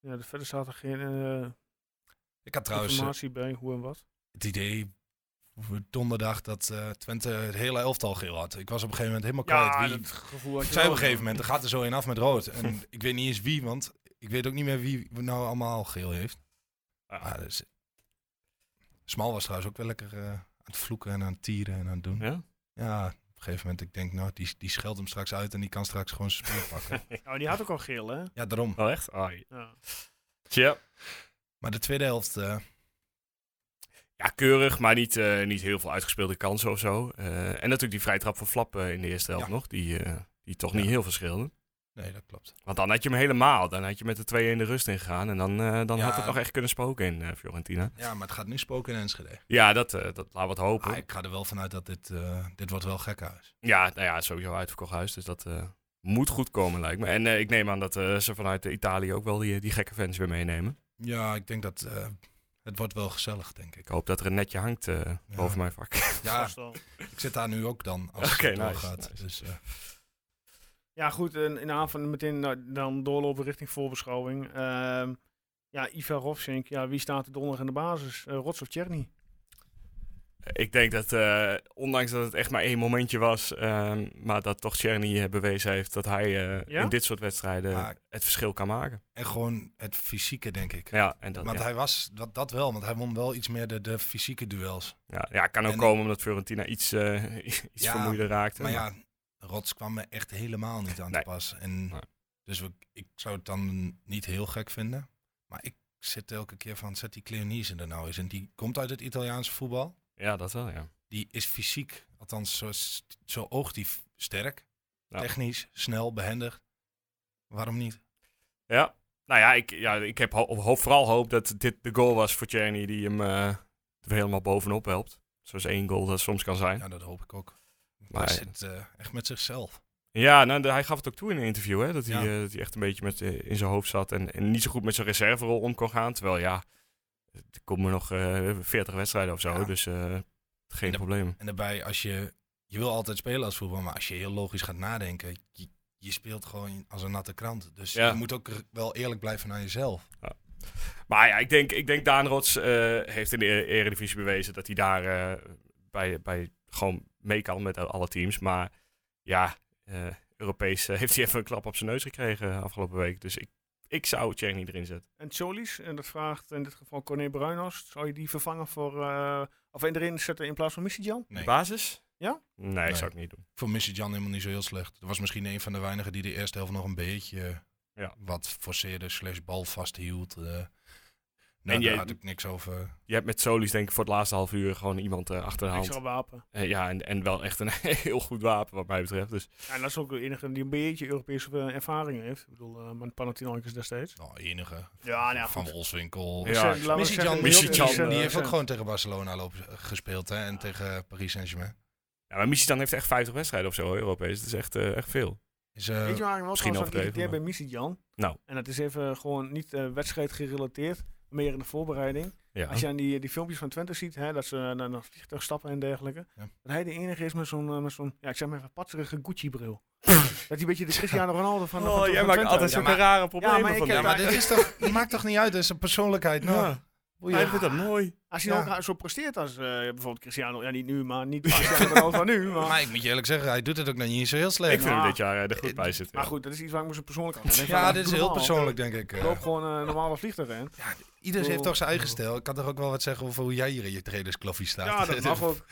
Ja, dus verder staat er geen eh, Ik had trouwens eh, informatie bij hoe en wat. het idee voor donderdag dat eh, Twente het hele elftal geel had. Ik was op een gegeven moment helemaal Ja, kwijt. dat gevoel had Ik je zei wel. op een gegeven moment, er gaat er zo een af met rood. En ik weet niet eens wie, want ik weet ook niet meer wie nou allemaal geel heeft. Ah, dus... Smal was trouwens ook wel lekker eh, aan het vloeken en aan het tieren en aan het doen. Ja? Ja, op een gegeven moment, ik denk, nou, die, die scheldt hem straks uit en die kan straks gewoon zijn speel pakken. Oh, die had ook al geel, hè? ja, daarom. Oh, echt? Ah, Ja. Tja. Maar de tweede helft, eh, Ja, keurig, maar niet, eh, niet heel veel uitgespeelde kansen of zo. Eh, en natuurlijk die vrijtrap van Flap eh, in de eerste helft Ja. nog, die, eh, die toch niet heel veel scheelde. nee, dat klopt. Want dan had je hem helemaal, dan had je met de 2 in de rust ingegaan. En dan, eh, dan Ja. had het nog echt kunnen spoken in eh, Fiorentina. Ja, maar het gaat nu spoken in Enschede. Ja, dat, eh, dat laten we het hopen. Ah, ik ga er wel vanuit dat dit, eh, dit wordt wel gekkenhuis. Ja, nou ja, sowieso uitverkocht huis, dus dat eh, moet goed komen lijkt me. En eh, ik neem aan dat eh, ze vanuit eh, Italië ook wel die, die gekke fans weer meenemen. Ja, ik denk dat eh, het wordt wel gezellig, denk ik. Ik hoop dat er een netje hangt eh, boven mijn vak. Ja, Vast wel. ik zit daar nu ook dan, als Oké, het nice, doorgaat. nice. Dus, eh, Ja, goed. En in de avond meteen nou, dan doorlopen richting voorbeschouwing. Ehm, ja, Ivar Hofsink. Ja, wie staat er donderdag in de basis? Eh Rots of Tjerni? Ik denk dat, eh, ondanks dat het echt maar één momentje was, ehm, maar dat toch Czerny eh, bewezen heeft dat hij eh, Ja? in dit soort wedstrijden Maar- het verschil kan maken. en gewoon het fysieke, denk ik. Ja, en dat, Want ja, hij was dat, dat wel, want hij won wel iets meer de, de fysieke duels. ja, ja, kan ook en- komen omdat Fiorentina iets, eh, iets Ja, vermoeider raakte. Maar ja, Rots kwam me echt helemaal niet aan Nee. te pas. En, Nee. Dus we, ik zou het dan niet heel gek vinden. Maar ik zit elke keer van, zet die Cleonise er nou eens. En die komt uit het Italiaanse voetbal. ja, dat wel, ja. Die is fysiek, althans zo, zo oogt die f- sterk. Ja. Technisch, snel, behendig. Waarom niet? Ja, nou ja, ik, ja, ik heb ho- ho- vooral hoop dat dit de goal was voor Czerny die hem eh, er helemaal bovenop helpt. Zoals één goal dat soms kan zijn. Ja, dat hoop ik ook. Maar Maar- hij zit eh, echt met zichzelf. Ja, nou, de- hij gaf het ook toe in een interview, hè, dat, hij, Ja. eh, dat hij echt een beetje met, eh, in zijn hoofd zat en, en niet zo goed met zijn reserverol om kon gaan. Terwijl ja, er komen nog eh 40 wedstrijden of zo, Ja. dus eh, geen de- probleem. En daarbij, als je, je wil altijd spelen als voetbal, maar als je heel logisch gaat nadenken, je, je speelt gewoon als een natte krant. Dus Ja. je moet ook r- wel eerlijk blijven naar jezelf. Maar ja, ik denk, ik denk Daan Rots eh, heeft in de E- Eredivisie bewezen dat hij daar eh, bij, bij gewoon mee kan met alle teams. Maar ja, eh, Europees eh, heeft hij even een klap op zijn neus gekregen afgelopen week. Dus ik, ik zou Chang niet erin zetten. En Solis, en dat vraagt in dit geval Corné Bruinhorst. Zou je die vervangen voor... eh, of erin zetten in plaats van Jan? Nee. Basis? Ja? Nee, Nee. ik zou het niet doen. Ik vond Missy Jan helemaal niet zo heel slecht. Er was misschien een van de weinigen die de eerste helft nog een beetje eh, Ja. wat forceerde, slash bal vasthield. eh. Nou, En daar jij- had ik niks over. Je hebt met Solis denk ik voor het laatste half uur gewoon iemand eh, achter de hand. Extra wapen. Eh, ja, en, en wel echt een heel goed wapen wat mij betreft. Dus Ja, en dat is ook de enige die een beetje Europese eh, ervaring heeft. Ik bedoel, eh mijn Panathinaikos destijds. Nou, enige. Ja, nou ja, Van goed. Wolfswinkel. Ja. laten we Missy Jan, zeggen, Missy die- Jan, die- eh, die heeft ook zijn- gewoon tegen Barcelona lopen- eh, gespeeld hè? en tegen Paris Saint-Germain. Ja, maar Michitan heeft echt 50 wedstrijden of zo, hoor, Europees. Dat is echt, eh, echt veel. Is, eh, Weet je waar ik me wel misschien trouwens aan overdreven, irriteer bij maar- Missy Jan? Nou. En dat is even gewoon niet eh, wedstrijd gerelateerd, meer in de voorbereiding. Ja. Als je aan die, die filmpjes van Twente ziet, hè, dat ze eh, naar een vliegtuig stappen en dergelijke. Ja. Dat hij de enige is met zo'n, eh, met zo'n ja, ik zeg maar even patserige Gucci-bril. dat hij een beetje de Cristiano Ronaldo Oh, van, Oh, van, van Twente is. Ja, zulke maar- rare problemen maar ik van heb ja, daar- maar dit is toch, maakt toch niet uit, dat is een persoonlijkheid. Nou, Ja. boeien. Hij vindt dat mooi. Als hij dan Ja. ook zo presteert als eh, bijvoorbeeld Cristiano, ja niet nu, maar niet Cristiano Ronaldo van nu. Maar, Maar ik moet je eerlijk zeggen, hij doet het ook nog niet zo heel Ik slecht. vind hem Ja. dit jaar eh, er goed bij zitten. maar ja. goed, dat is iets waar ik me zo persoonlijk aan denk. ja, van, dit is doe heel normaal. persoonlijk, denk ik. eh. Loop gewoon eh, een normale vliegtuig in. Iedereen heeft Oh. toch zijn eigen stijl. Ik kan toch ook wel wat zeggen over hoe jij hier in je trainersklaffie staat. Ja, dat mag ook.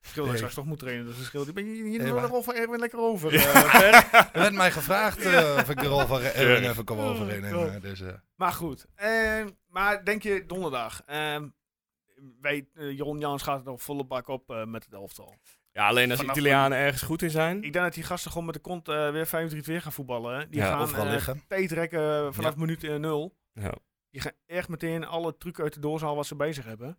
Verschil dat ik Nee. straks toch moet trainen, dus dat scheelt. Ik ben hier Nee, nee, maar- de rol van Erwin lekker over. Ja. eh, Bert. Er werd mij gevraagd eh, of ik de rol van Erwin even kon Oh, overnemen. God. Dus, eh, maar goed, eh, maar denk je donderdag? ehm, wij, eh, Jeroen Jans gaat er nog volle bak op eh, met het elftal. Ja, alleen als de Vanaf- Italianen ergens goed in zijn. Ik denk dat die gasten gewoon met de kont eh, weer 5-3-2 gaan voetballen. hè. Die Ja, gaan overal eh, liggen. theetrekken eh, vanaf minuut 0. nul. Ja. Die gaan echt meteen alle truc uit de doorzaal wat ze bezig hebben.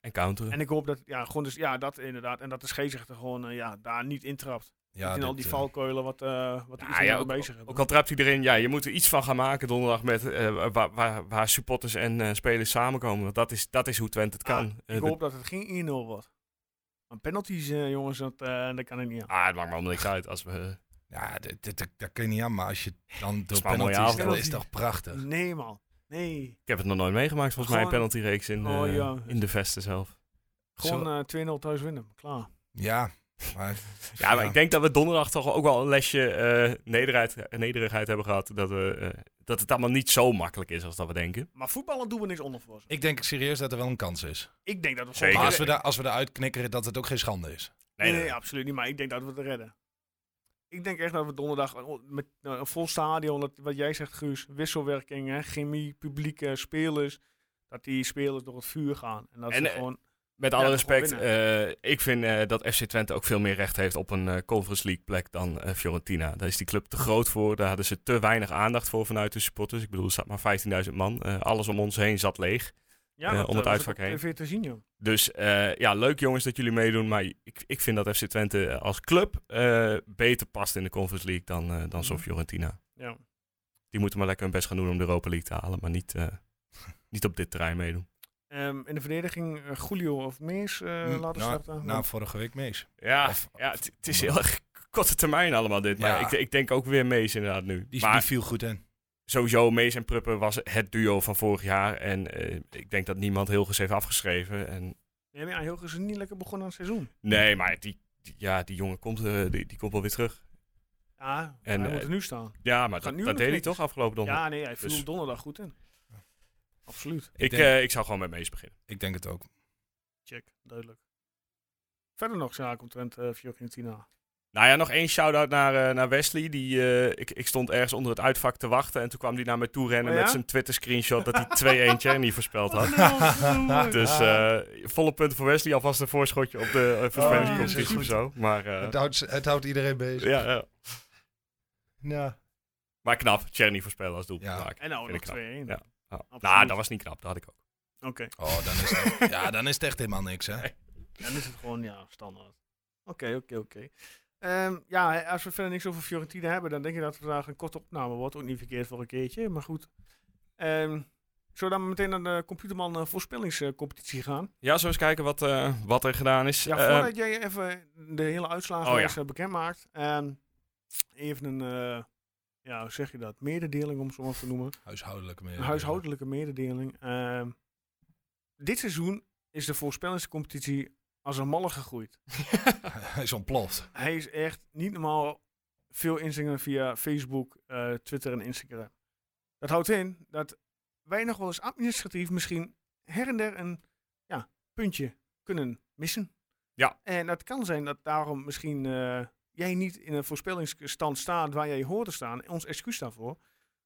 En counteren. En ik hoop dat, ja, gewoon dus, ja, dat inderdaad. En dat de scheidsrechter gewoon eh, ja, daar niet intrapt. Ja, niet in al dit, die eh, valkuilen wat, eh wat de Ja, Italianen ja, ook- bezig hebben. Ook al trapt iedereen, ja, je moet er iets van gaan maken donderdag met, eh, waar, waar, waar supporters en eh, spelers samenkomen. Want dat is, dat is hoe Twente het Ah, kan. Eh, Ik dat- hoop dat het geen 1-0 wordt. Maar penalties, eh, jongens, dat, eh, dat kan ik niet aan. ah, het maakt me allemaal niks uit. Als we, eh, Ja, dit, dit, dat- dat kun je niet aan, maar als je dan door is maar een mooie penalties, avond. dat is toch prachtig. Nee, man. Nee. ik heb het nog nooit meegemaakt, volgens mij, een Gewoon- penaltyreeks in, Oh, eh, ja. in de Vesten zelf. Gewoon eh 2-0 thuis winnen. Klaar. Ja, maar, Ja, maar ik denk dat we donderdag toch ook wel een lesje eh, nederigheid, nederigheid hebben gehad. Dat, we, eh, dat het allemaal niet zo makkelijk is als dat we denken. Maar voetballen doen we niks onder voor ze. ik denk serieus dat er wel een kans is. Ik denk dat we Zeker. Maar gewoon- als we, daar als we eruit knikkeren, dat het ook geen schande is. Nee, nee, absoluut niet. Maar ik denk dat we het redden. Ik denk echt dat we donderdag eh, met eh, een vol stadion, dat, wat jij zegt Guus, wisselwerking, hè, chemie, publiek, eh, spelers, dat die spelers door het vuur gaan. En dat En, ze eh, gewoon, Met Ja, alle gewoon respect, eh, ik vind eh, dat FC Twente ook veel meer recht heeft op een eh, Conference League plek dan eh, Fiorentina. Daar is die club te groot voor, daar hadden ze te weinig aandacht voor vanuit de supporters. Ik bedoel, er zat maar 15.000 man, Eh, alles om ons heen zat leeg. ja, eh, dat, om eh, het was uitvak ook op heen. TV te zien, joh. Dus eh, ja, leuk jongens dat jullie meedoen, maar ik, ik vind dat FC Twente als club eh, beter past in de Conference League dan, eh, dan zo'n Mhm. Fiorentina. Ja. Die moeten maar lekker hun best gaan doen om de Europa League te halen, maar niet, eh, niet op dit terrein meedoen. Ehm, in de verdediging eh, Julio of Mees eh, Hm, laten nou, starten. Na vorige week mees. Ja, Of- ja het, het is heel erg korte termijn allemaal dit, maar Ja. ik, ik denk ook weer Mees inderdaad nu. Die, maar die viel goed in. sowieso, Mees en Pruppen was het duo van vorig jaar. En eh, ik denk dat niemand heel heeft afgeschreven. En, Nee, maar ja, Hilgers is niet lekker begonnen aan het seizoen. nee, maar die, die- ja, die jongen komt, eh, die, die komt wel weer terug. Ja, En, en, hij eh, moet er nu staan. Ja, maar Gaat dat, nu dat nog deed hij niks. toch afgelopen donderdag? Ja, nee, hij viel dus- donderdag goed in. Absoluut. ik, denk- eh, ik zou gewoon met Mees beginnen. Ik denk het ook. Check, duidelijk. Verder nog zaken omtrent eh Fiorentina. Nou ja, nog één shout-out naar, eh, naar Wesley. Die, eh, ik, ik stond ergens onder het uitvak te wachten. En toen kwam hij naar me toe rennen Oh ja? met zijn Twitter-screenshot dat hij 2 1 niet voorspeld had. Dus Ah. eh, volle punten voor Wesley. Alvast een voorschotje op de Oh, uh, jezus, voorspellingscompetitie goed. of zo. Maar, eh, Het, houdt, het houdt iedereen bezig. ja, ja. Ja. maar knap. Cherny voorspellen als doelpunt Ja. maken. En nou, nog Vind 2-1. ik knap. Oké. Ja. Ja. Absoluut. Nou, dat was niet knap. Dat had ik ook. Oh, dan is, het, ja, dan is het echt helemaal niks, hè? Dan is het gewoon, ja, standaard. Oké, oké, oké. Ehm, Ja, hè, als we verder niks over Fiorentina hebben, dan denk ik dat het vandaag een korte opname nou, wordt. Ook niet verkeerd voor een keertje, maar goed. Ehm zullen we dan meteen naar de computerman eh, voorspellingscompetitie gaan? Ja, zo eens kijken wat, eh, wat er gedaan is. Ja, Eh, voordat jij even de hele uitslagen oh ja. eens, eh, bekend maakt. ehm, even een, eh, ja, hoe zeg je dat? Mededeling om het zo maar te noemen. Huishoudelijke meer. Een huishoudelijke mededeling. Ehm, dit seizoen is de voorspellingscompetitie als een malle gegroeid. Hij is ontploft. Hij is echt niet normaal veel inzingen via Facebook, eh, Twitter en Instagram. Dat houdt in dat wij nog wel eens administratief misschien her en der een ja, puntje kunnen missen. Ja. En dat kan zijn dat daarom misschien eh, jij niet in een voorspellingsstand staat waar jij hoort te staan. Ons excuus daarvoor.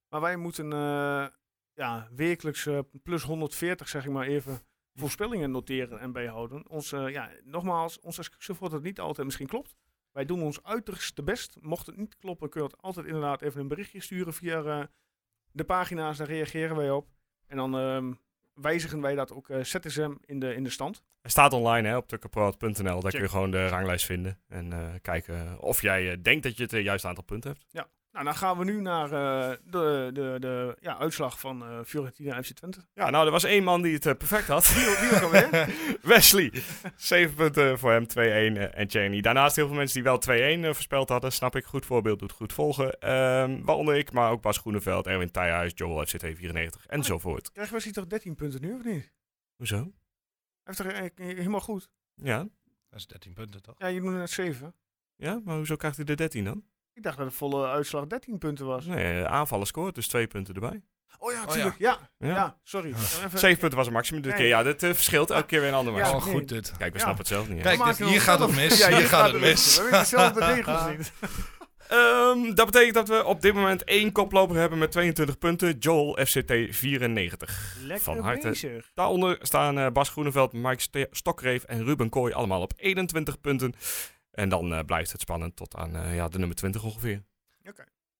Maar wij moeten eh, ja, wekelijks eh, plus 140, zeg ik maar even, voorspellingen noteren en bijhouden. Ons, eh, ja, nogmaals, ons excuus voor dat het niet altijd misschien klopt. Wij doen ons uiterste best. Mocht het niet kloppen, kun je het altijd inderdaad even een berichtje sturen via eh, de pagina's. Daar reageren wij op. En dan ehm, wijzigen wij dat ook, eh, zetten ze hem in de, in de stand. Hij staat online hè, op tukkenproad.nl. Daar kun je Check. gewoon de ranglijst vinden. En eh, kijken of jij eh, denkt dat je het eh, juiste aantal punten hebt. Nou, dan gaan we nu naar eh, de, de, de ja, uitslag van eh Fiorentina FC Twente. Ja, nou, er was één man die het eh, perfect had. Wie, wie ook alweer? Wesley. 7 punten voor hem, 2-1 eh, en Cheney. Daarnaast heel veel mensen die wel 2-1 eh, voorspeld hadden. Snap ik, goed voorbeeld, doet goed volgen. Ehm, waaronder ik, maar ook Bas Groeneveld, Erwin Thijhuis, Joel FCT94 enzovoort. Krijgt Wesley toch 13 punten nu, of niet? Hoezo? Hij heeft toch eh, helemaal goed? Ja, Dat is 13 punten toch? Ja, je noemde net 7. ja, maar hoezo krijgt hij de 13 dan? Ik dacht dat de volle uitslag 13 punten was. Nee, aanvallen scoort, dus twee punten erbij. Oh ja, ja. tuurlijk. ja. Ja. Ja. sorry. Even- 7 punten was het maximum dit Nee. keer. Ja, dat eh, verschilt elke keer weer een ander Ja, maximum. oh, nee. goed dit. Kijk, we Ja. snappen het zelf niet. hè? Kijk, Dan maken dit- we hier ons gaat wel het op- mis. Ja, Hier gaat het mis. We weten dezelfde regels niet. Ehm, dat betekent dat we op dit moment één koploper hebben met 22 punten. Joel FCT94. Lekker Van harte. bezig. Daaronder staan eh, Bas Groeneveld, Mike Ste- Stokreef en Ruben Kooi allemaal op 21 punten. En dan eh, blijft het spannend tot aan eh, ja, de nummer 20 ongeveer.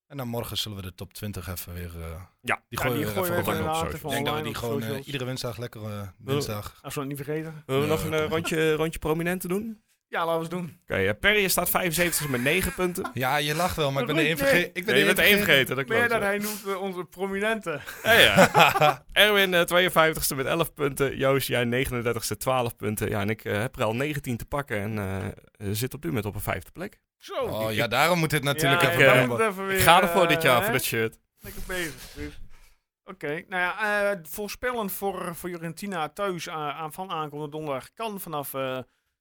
En dan morgen zullen we de top 20 even weer... eh, Ja, die Ja, gooien die we er gooien even we op. even op, inderdaad sorry. even Ik denk dat we online die op gewoon eh, socials. iedere woensdag lekker eh, dinsdag... Als we het niet vergeten. Willen we Ja, nog een kom eh, maar. rondje, rondje prominenten doen? Ja, laten we het doen. Oké, eh, Perry staat 75 met 9 punten. Ja, je lacht wel, maar ik ben Roet, er één nee. vergeten. Ik ben Nee, je bent er één vergeten, dat Meer klopt. dan ja. hij noemt eh, onze prominente. Ja, ja. Erwin, eh, 52ste met 11 punten. Joost, jij 39ste, 12 punten. Ja, en ik eh, heb er al 19 te pakken en eh, eh, zit op dit moment op een vijfde plek. Zo. Oh ja, daarom moet dit natuurlijk Ja, even... ik, eh, dan bij- moet het even Ik weer, ga ervoor dit eh, jaar, hè? voor dat shirt. Lekker bezig. Ruud. Oké, nou ja, eh voorspellen voor, voor Fiorentina thuis aan, aan van aankomende donderdag kan vanaf eh,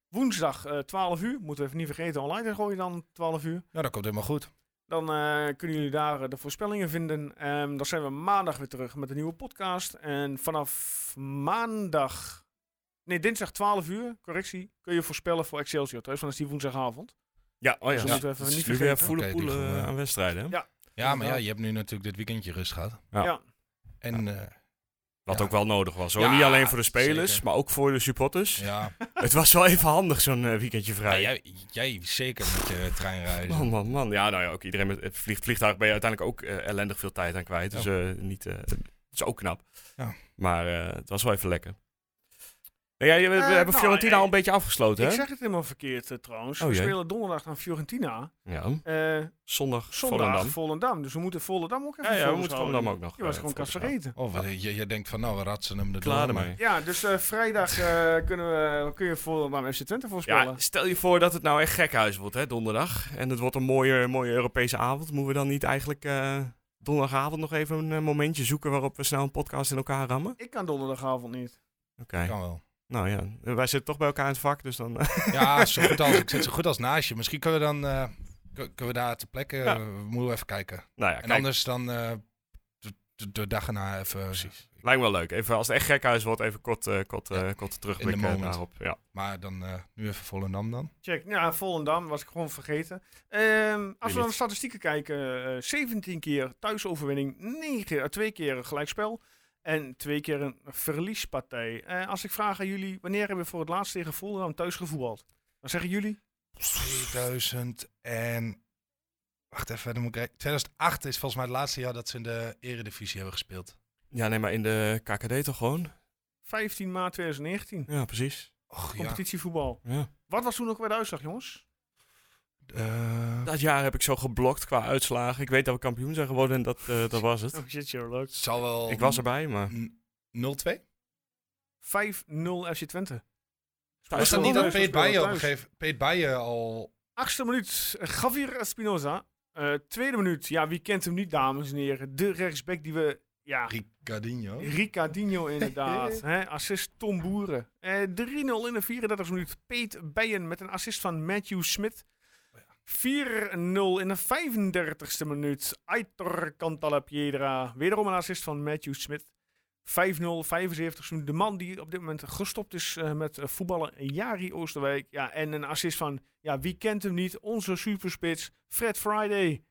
woensdag eh 12 uur. Moeten we even niet vergeten, online gooien dan 12 uur. Ja, Nou, dat komt helemaal goed. Dan eh, kunnen jullie daar eh, de voorspellingen vinden. Ehm, dan zijn we maandag weer terug met een nieuwe podcast. En vanaf maandag, nee, dinsdag 12 uur, correctie, kun je voorspellen voor Excelsior thuis. Want dat is die woensdagavond. Ja, oh ja. Dus we ja. moeten even Het is niet nu weer vergeten. voele Oké, die poelen gaan we- eh, aan wedstrijden. hè? Ja. Ja, maar ja, je hebt nu natuurlijk dit weekendje rust gehad. Ja. Ja. En eh, Wat Ja. ook wel nodig was. Hoor. Ja, Niet alleen voor de spelers, zeker. maar ook voor de supporters. ja, Het was wel even handig, zo'n eh, weekendje Ja, vrij. jij, jij zeker met je treinreizen. Man, man, man. Ja, nou ja, ook iedereen met het vlieg- vliegtuig ben je uiteindelijk ook eh, ellendig veel tijd aan kwijt. Dus eh, niet, eh, het is ook knap. Ja. Maar eh, het was wel even lekker. Nou, ja, we, we Eh, hebben nou, Fiorentina eh, al een beetje afgesloten, Ik hè? zeg het helemaal verkeerd eh, trouwens. Oh, we jee. spelen donderdag aan Fiorentina. Ja. Eh, zondag Zondag, Volendam. Volendam. Dus we moeten Volendam ook even Ja, ja, we volgens moeten houden. Volendam ook nog. Je was eh, gewoon kast volgens vergeten. Of eh, je, je denkt van, nou, we ratsen hem gaan. er Klaar door, maar- ermee. Ja, dus eh, vrijdag eh, kunnen we, kun je Volendam FC Twente voorspellen. Ja, stel je voor dat het nou echt gekhuis wordt, hè, donderdag. En het wordt een mooie, mooie Europese avond. Moeten we dan niet eigenlijk eh, donderdagavond nog even een eh, momentje zoeken waarop we snel een podcast in elkaar rammen? Ik kan donderdagavond niet. Oké. Kan wel. Nou ja, wij zitten toch bij elkaar in het vak, dus dan... Ja, zo goed als, ik zit zo goed als naast je. Misschien kunnen we dan eh, kun- kunnen we daar ter plekke, Ja. eh, moeten we even kijken. nou ja, en kijk, anders dan eh, de, de, de dag erna even. eh, Precies. lijkt me wel leuk. Even, als het echt gekhuis wordt, even kort, eh kort, eh, Ja, kort terugblikken moment. daarop. Ja. Maar dan eh, nu even Volendam dan. Check. Ja, Volendam was ik gewoon vergeten. Ehm, als Wie we naar de niet? statistieken kijken, eh, 17 keer thuisoverwinning, 9, eh, twee keer een gelijkspel en twee keer een verliespartij. Eh, als ik vraag aan jullie, wanneer hebben we voor het laatst tegen Volendam thuis gevoetbald? Dan zeggen jullie, 2000 en. Wacht even, dan moet ik kijken. 2008 is volgens mij het laatste jaar dat ze in de Eredivisie hebben gespeeld. ja, nee, maar in de KKD toch gewoon? 15 maart 2019, Ja, precies. Och ja. competitievoetbal. Ja. Wat was toen ook weer de uitslag, jongens? Eh, Dat jaar heb ik zo geblokt qua uitslagen. Ik weet dat we kampioen zijn geworden en dat, eh, dat was het. Oh shit, Sherlock. het zal wel. Ik was erbij, maar... N- 0-2? 5-0 FC Twente. Was Thuis Nou, dat niet gewonnen? dat thuis Peet gespeeld, Baier op een thuis. gegeven Peet Baier al. Achtste minuut, eh, Javier Espinoza. Eh, tweede minuut, ja, wie kent hem niet, dames en heren? De rechtsback die we, ja, Ricardinho? Ricardinho inderdaad. hè? Assist Tom Boeren. Eh, 3-0 in de 34 minuut. Peet Bijen met een assist van Matthew Smit. 4-0 in de 35ste minuut. Aitor Cantala Piedra. Wederom een assist van Matthew Smit. 5-0, 75 minuut. De man die op dit moment gestopt is eh, met eh, voetballen. Jari Oosterwijk. Ja, en een assist van, ja, wie kent hem niet? Onze superspits, Fred Friday.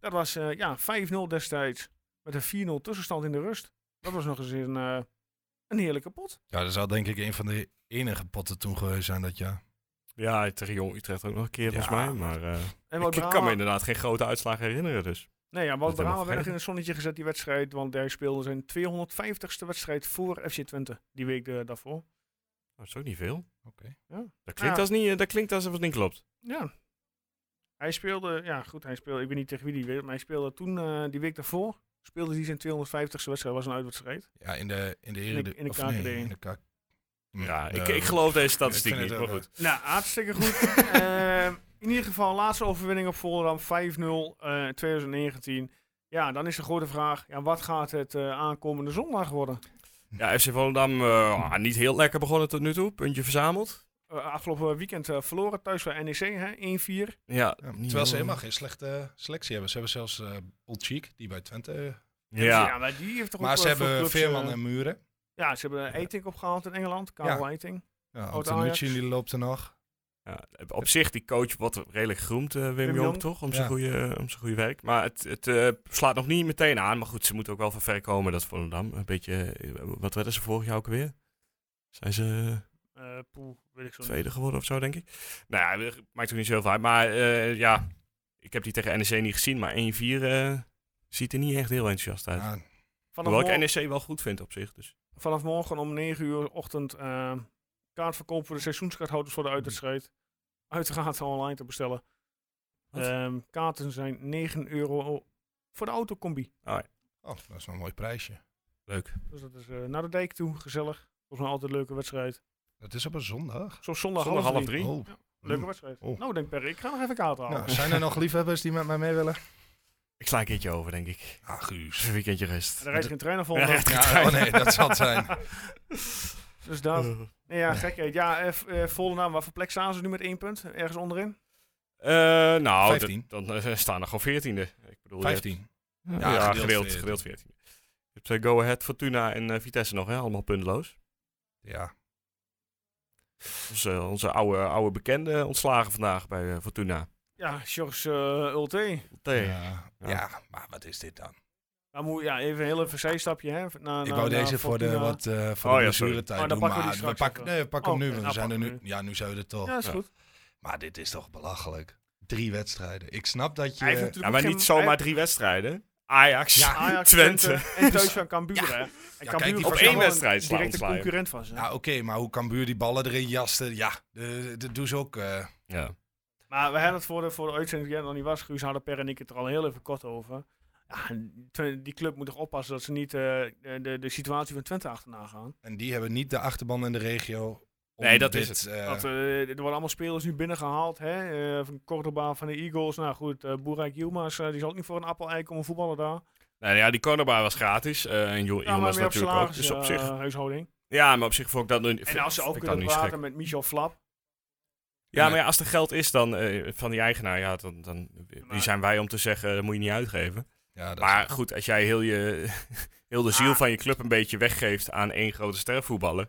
Dat was eh, ja, 5-0 destijds. Met een 4-0 tussenstand in de rust. Dat was nog eens een, eh, een heerlijke pot. Ja, dat zal denk ik een van de enige potten toen geweest zijn dat jaar. Ja, tegen Jong Utrecht ook nog een keer volgens Ja. mij. Maar eh, En ik, Wout ik kan me Brama- inderdaad geen grote uitslagen herinneren. Dus Nee, ja, helemaal Wout Brama werd vergeten. echt in het zonnetje gezet die wedstrijd. Want hij speelde zijn 250ste wedstrijd voor FC Twente. Die week eh, daarvoor. dat is ook niet veel. Oké. Ja. Dat klinkt Ja. als niet, eh, dat klinkt als het niet klopt. Ja. Hij speelde, ja goed, hij speelde, ik weet niet tegen wie die weer, maar hij speelde toen, eh, die week daarvoor, speelde hij zijn 250ste wedstrijd, was een uitwedstrijd. Ja, in de in de, In de- in de of KKD. nee, in de K- Ja, Eh, ik, ik geloof deze statistiek vind niet. het Maar wel, eh, goed. Nou, hartstikke goed. Ehm, in ieder geval, laatste overwinning op Volendam, 5-0, eh 2019. Ja, dan is de grote vraag, ja, wat gaat het eh, aankomende zondag worden? Ja, FC Volendam eh, niet heel lekker begonnen tot nu toe. Puntje verzameld. Eh, afgelopen weekend eh, verloren thuis bij NEC, hè, 1-4. Ja, Ja, niet terwijl ze heel- helemaal geen slechte eh, selectie hebben. Ze hebben zelfs eh Old Cheek, die bij Twente. eh, Ja, Dus maar die heeft toch ook, maar ze eh, veel hebben clubs, Veerman eh, en Muren. Ja, ze hebben eh, Eiting opgehaald in Engeland, Karel Eiting. Ja, Oud Antonucci Ajax. die loopt er nog. Ja, op zich, die coach wordt redelijk geroemd, eh, Wim, Jong, Jong. toch? Om zijn, Ja. goede, om zijn goede werk. Maar het, het eh, slaat nog niet meteen aan. Maar goed, ze moeten ook wel van ver komen, dat Volendam. Een beetje, eh, wat werden ze vorig jaar ook weer? Zijn ze Eh poeh, weet ik zo niet. tweede geworden of zo, denk ik? Nou ja, maakt ook niet zoveel uit. Maar eh, ja, ik heb die tegen NEC niet gezien. Maar 1-4 eh, ziet er niet echt heel enthousiast uit. Ja, Vanaf Hoewel ik morgen- NEC wel goed vind op zich. Dus. vanaf morgen om 9 uur ochtend ehm, kaartverkoop voor de seizoenskaarthouders voor de uitwedstrijd. Uiteraard online te bestellen. Wat? Ehm, kaarten zijn 9 euro voor de autocombi. Oh, dat is wel een mooi prijsje. Leuk. Dus dat is eh, naar de dijk toe, gezellig. Volgens mij altijd een leuke wedstrijd. Dat is op een zondag. Zo zondag, Zondag half drie. Oh. Leuke Hm. Mm. wedstrijd. Oh. Nou, denk Perry, ik ga nog even kaarten halen. Nou, zijn er nog liefhebbers die met mij mee willen? Ik sla een keertje over, denk ik. Ah, Guus. Een weekendje rest. Er rijdt geen trein naar Ja, Volendam. Ja, oh nee, dat zal het zijn. Dus daar. Oh. Nee, ja, gekheid. Ja, eh, v- eh, Volendam, wat voor plek staan ze nu met één punt? Ergens onderin? Eh, nou, Vijftien. dat- dan eh, staan er gewoon veertiende. Ik bedoel, je hebt- 15. Ja, Ja, gedeeld, gedeeld gedeeld, 14. 14. Je hebt eh, Go Ahead, Fortuna en eh, Vitesse nog, hè? allemaal punteloos. Ja. Onze, eh, onze oude, oude bekende ontslagen vandaag bij eh, Fortuna. Ja, Georges eh Ulte. Tee. Ja. Ja. ja, maar wat is dit dan? Dan moet, ja, even een heel even zijstapje. Hè, na, Ik wou deze voor de, wat, eh voor Oh de ja, blessuretijd sorry. Oh, dan doen, pakken we maar die straks pakken, even. nee, we pakken Oh, hem oké, nu. We nou zijn er pakken nu. Ja, nu zijn we er toch. Ja, is Ja. goed. Maar dit is toch belachelijk. Drie wedstrijden. Ik snap dat je... Hij heeft Ja, natuurlijk maar ook niet geen- zomaar hij- drie wedstrijden. Ajax, Ja. Ajax, Twente. Twente. en thuis van Cambuur. hè. En kijk, Cambuur die was op wel één een wedstrijd slaan directe ontslaan, ja. concurrent van ze. Ja, oké, maar hoe kan Buur die ballen erin jasten? Ja, eh, dat doen ze ook. eh. Ja. Maar we hadden het voor de, voor de uitzending die er nog niet was. Guus hadden Per en ik het er al heel even kort over. Ja, en Twen- die club moet toch oppassen dat ze niet eh, de, de, de situatie van Twente achterna gaan. En die hebben niet de achterban in de regio. om Nee, dat dit, is eh, Want, eh, er worden allemaal spelers nu binnengehaald. Hè? Eh, van Cordoba, van de Eagles. Nou goed, eh Boerak Yilmaz, eh, die zal ook niet voor een appel ei komen voetballen daar. Nou ja, die cornerbar was gratis. eh, en Jo- Ja, maar Jonas meer op natuurlijk ook. salaris, Dus op zich, eh, huishouding. ja, maar op zich vond ik dat nu vind- En als ze vind ook ik dat kunnen niet zo gek. praten met Michel Flap. Ja, maar ja, als er geld is dan, eh, van die eigenaar, ja, dan, dan, wie Maar- zijn wij om te zeggen, dat moet je niet uitgeven. ja, dat Ah. Maar goed, als jij heel, je, heel de ziel van je club een beetje weggeeft aan één grote stervoetballer.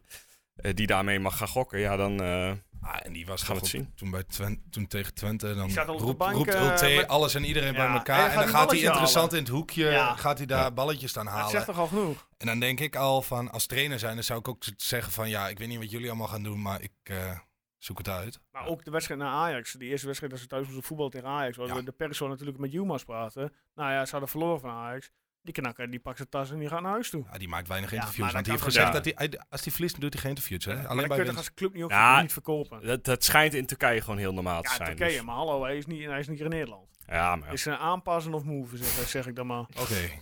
eh, die daarmee mag gaan gokken, ja, dan. eh, Ah, en die was Gaan we toch het op- zien. toen, bij Twente, toen tegen Twente. Dan Die staat al op de roept, bank, roept eh, Ulte met- alles en iedereen bij Ja, elkaar. en En, dan dan gaat gaat hij hij interessant balletje in het hoekje. Ja. Gaat hij daar balletjes aan Dat halen. zegt toch al genoeg? En dan denk ik al van, als trainer zijn, dan zou ik ook z- zeggen van... Ja, ik weet niet wat jullie allemaal gaan doen, maar ik eh, zoek het uit. Maar ook de wedstrijd naar Ajax. Die eerste wedstrijd dat ze thuis moesten voetballen tegen Ajax. Waar Ja. we de pers zou natuurlijk met Jumas praten. Nou ja, ze hadden verloren van Ajax. Die knakker, die pakt zijn tas en die gaat naar huis toe. Ja, die maakt weinig Ja, interviews. maar want die dat heeft kan gezegd toch- dat hij, hij- als hij verliest, dan doet hij geen interviews. Hè? Maar Alleen dan kun bij je toch winst. als club niet, ook Ja, niet verkopen. dat, dat schijnt in Turkije gewoon heel normaal te Ja, zijn. Turkije, dus- maar hallo, hij is niet, hij is niet in Nederland. ja, maar. ja. Het is Dus- een aanpassen of move, zeg, zeg ik dan maar. Oké.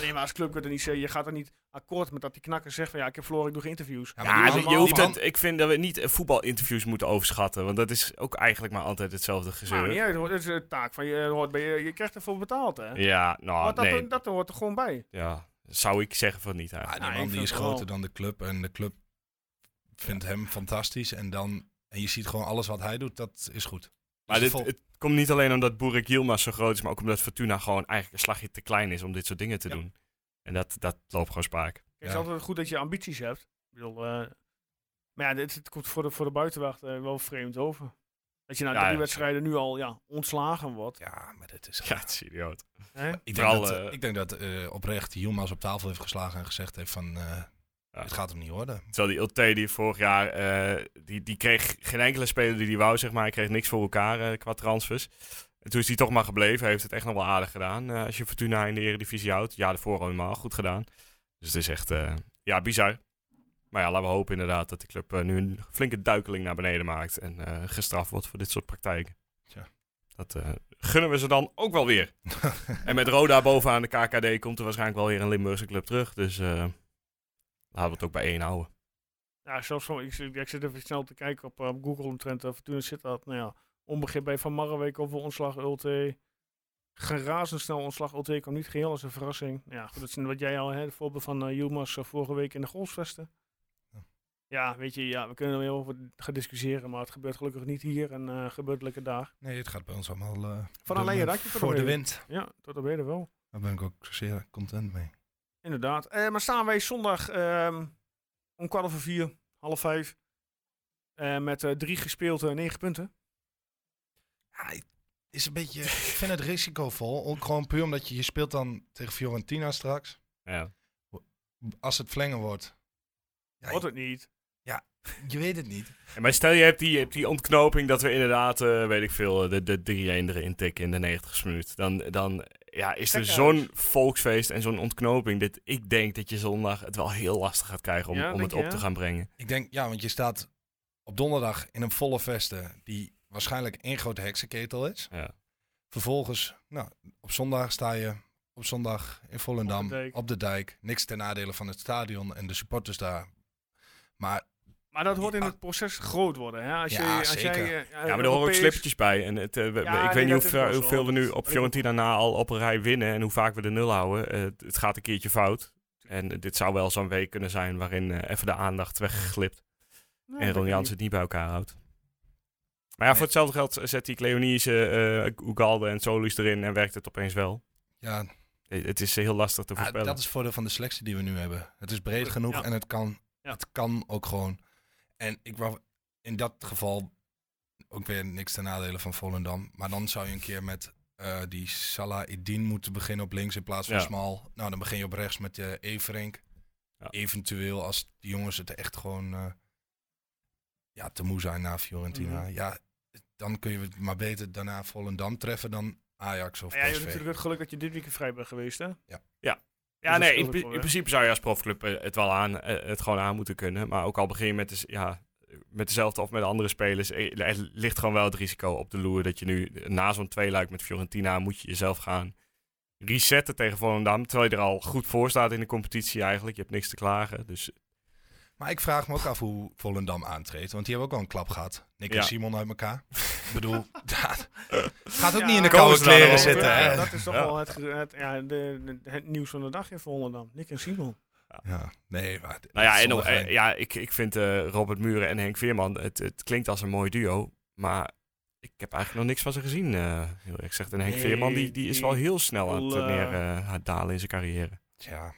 Nee, maar als club kun je er niet zeggen, je gaat er niet akkoord met dat die knakker zegt van ja, ik heb verloren, ik doe geen interviews. Ja, Ja, maar die je- man- je hoeft die man- het, ik vind dat we niet eh, voetbalinterviews moeten overschatten. Want dat is ook eigenlijk maar altijd hetzelfde Maar Nou, gezeur. niet uit, hoor. dat is de taak van je, hoort bij je, je krijgt ervoor betaald, hè? Ja, nou, Want dat, nee. dat hoort er gewoon bij. Ja, zou ik zeggen van niet. Ja, Eigenlijk. Ah, die Nou, ik man die vind is het wel. groter dan de club en de club vindt hem fantastisch. En, dan, en je ziet gewoon alles wat hij doet, dat is goed. Dus Maar dit, vol- het komt niet alleen omdat Boerik Yilmaz zo groot is, maar ook omdat Fortuna gewoon eigenlijk een slagje te klein is om dit soort dingen te Ja. doen. En dat, dat loopt gewoon spaak. Kijk, Het Ja. is altijd goed dat je ambities hebt. Ik bedoel, eh, maar ja, dit, het komt voor de, voor de buitenwacht eh, wel vreemd over. Dat je na Ja, drie ja, wedstrijden nu al ja, ontslagen wordt. Ja, maar dit is... Ja, het is idioot. Hè? Ik denk Vooral, dat, eh, eh, ik denk dat eh, oprecht Yilmaz op tafel heeft geslagen en gezegd heeft van... eh, Ja. Het gaat hem niet worden. Terwijl die Ulte die vorig jaar, eh, die, die kreeg geen enkele speler die die wou, zeg maar. Hij kreeg niks voor elkaar eh, qua transfers. En toen is hij toch maar gebleven. Hij heeft het echt nog wel aardig gedaan. Eh, als je Fortuna in de Eredivisie houdt. Ja, daarvoor al helemaal goed gedaan. Dus het is echt, eh, ja, bizar. Maar ja, laten we hopen inderdaad dat de club eh, nu een flinke duikeling naar beneden maakt. En eh, gestraft wordt voor dit soort praktijken. Tja. Dat eh, gunnen we ze dan ook wel weer. en met Roda bovenaan de KKD komt er waarschijnlijk wel weer een Limburgse club terug. Dus eh, laten we het ook bij één houden. Ja, zelfs van, ik, zit- ik zit even snel te kijken op, eh, op Google omtrent. eh, Fortuna zit dat, nou ja, onbegrip bij Van Marrewijk over ontslag Ulte. Geen razendsnel ontslag Ulte kwam niet geheel als een verrassing. Nou Ja, goed, dat is wat jij al, hè, het voorbeeld van eh Yilmaz eh, vorige week in de golfsvesten. Ja. Ja, weet je, ja, we kunnen er heel over gaan discussiëren, maar het gebeurt gelukkig niet hier en eh gebeurt lekker daar. Nee, het gaat bij ons allemaal eh, Van door alleen de- je rakje tot voor de omheen. wind. Ja, tot op heden wel. Daar ben ik ook zeer content mee. Inderdaad. Eh, maar staan wij zondag ehm, om kwart over vier, half vijf, eh, met eh, drie gespeeld eh, negen punten. is een beetje, ik vind het risicovol. Ook gewoon puur omdat je, je speelt dan tegen Fiorentina straks. Ja. Als het flengen wordt. Ja, Wordt het niet. Je weet het niet. En maar stel je hebt die, je hebt die ontknoping dat we inderdaad, eh, weet ik veel, de, de 3-1 erin tikken in de 90ste minuut. Dan, dan ja, is er Gekhuis. zo'n volksfeest en zo'n ontknoping. Dat ik denk dat je zondag het wel heel lastig gaat krijgen om, Ja, om denk het je, op te hè? gaan brengen. Ik denk, ja, want je staat op donderdag in een volle vesten die waarschijnlijk één grote heksenketel is. Ja. Vervolgens, nou, op zondag sta je op zondag in Volendam, Op op de de dijk. dijk. Niks ten nadele van het stadion en de supporters daar. Maar Maar dat hoort in Ja. ah. het proces groot worden. Hè? Als Ja, je, als zeker. Jij, eh, ja, maar er horen ook Europees- slippertjes bij. En het, eh, we- Ja, ik nee, weet niet dat is hoeveel, wel zo. hoeveel we nu Dat op is- Fiorentina na al op een rij winnen en hoe vaak we de nul houden. Eh, het- het gaat een keertje fout. En dit zou wel zo'n week kunnen zijn waarin eh, even de aandacht wegglipt. Nou, En dat Ron kan Jans niet. het niet bij elkaar houdt. Maar ja, voor hetzelfde geld zet hij Cleonice, eh Ugalde en Solis erin en werkt het opeens wel. ja, Eh, Het is heel lastig te ah, voorspellen. dat is het voordeel van de selectie die we nu hebben. Het is breed genoeg Ja. en het kan, Ja. het kan ook gewoon. En ik wou in dat geval ook weer niks ten nadele van Volendam. Maar dan zou je een keer met eh, die Salah Eddin moeten beginnen op links in plaats van Ja. Smal. Nou, dan begin je op rechts met eh Everink. Ja. Eventueel als die jongens het echt gewoon eh, ja, te moe zijn na Fiorentina. Mhm. Ja, dan kun je het maar beter daarna Volendam treffen dan Ajax of Maar ja, je hebt PSV. natuurlijk het geluk dat je dit weekend vrij bent geweest. Hè? ja, dat nee, in, scheelt pri- wel, in hè? principe zou je als profclub eh, het wel aan, eh, het gewoon aan moeten kunnen. Maar ook al begin je met, de, ja, met dezelfde of met andere spelers, eh, er ligt gewoon wel het risico op de loer dat je nu eh, na zo'n tweeluik met Fiorentina moet je jezelf gaan resetten tegen Volendam. Terwijl je er al goed voor staat in de competitie eigenlijk. Je hebt niks te klagen. Dus Maar ik vraag me ook af hoe Volendam aantreedt. Want die hebben ook al een klap gehad. Nick Ja. en Simon uit elkaar. ik bedoel, dat gaat ook Ja, niet in komen de koude ze daar kleren dan op? zitten. Ja, hè? eh, Dat is toch Ja. wel het, ge- het, ja, de, de- het nieuws van de dag in Volendam. Nick en Simon. Ja, nee, maar... Nou ja, en, zondag- eh, ja ik, ik vind eh, Robert Muren en Henk Veerman, het, het klinkt als een mooi duo, maar ik heb eigenlijk nog niks van ze gezien. eh heel erg gezegd. En Henk Nee, Veerman, die, die is die- wel heel snel aan het Wel, eh, neer, eh, aan het dalen in zijn carrière. Ja,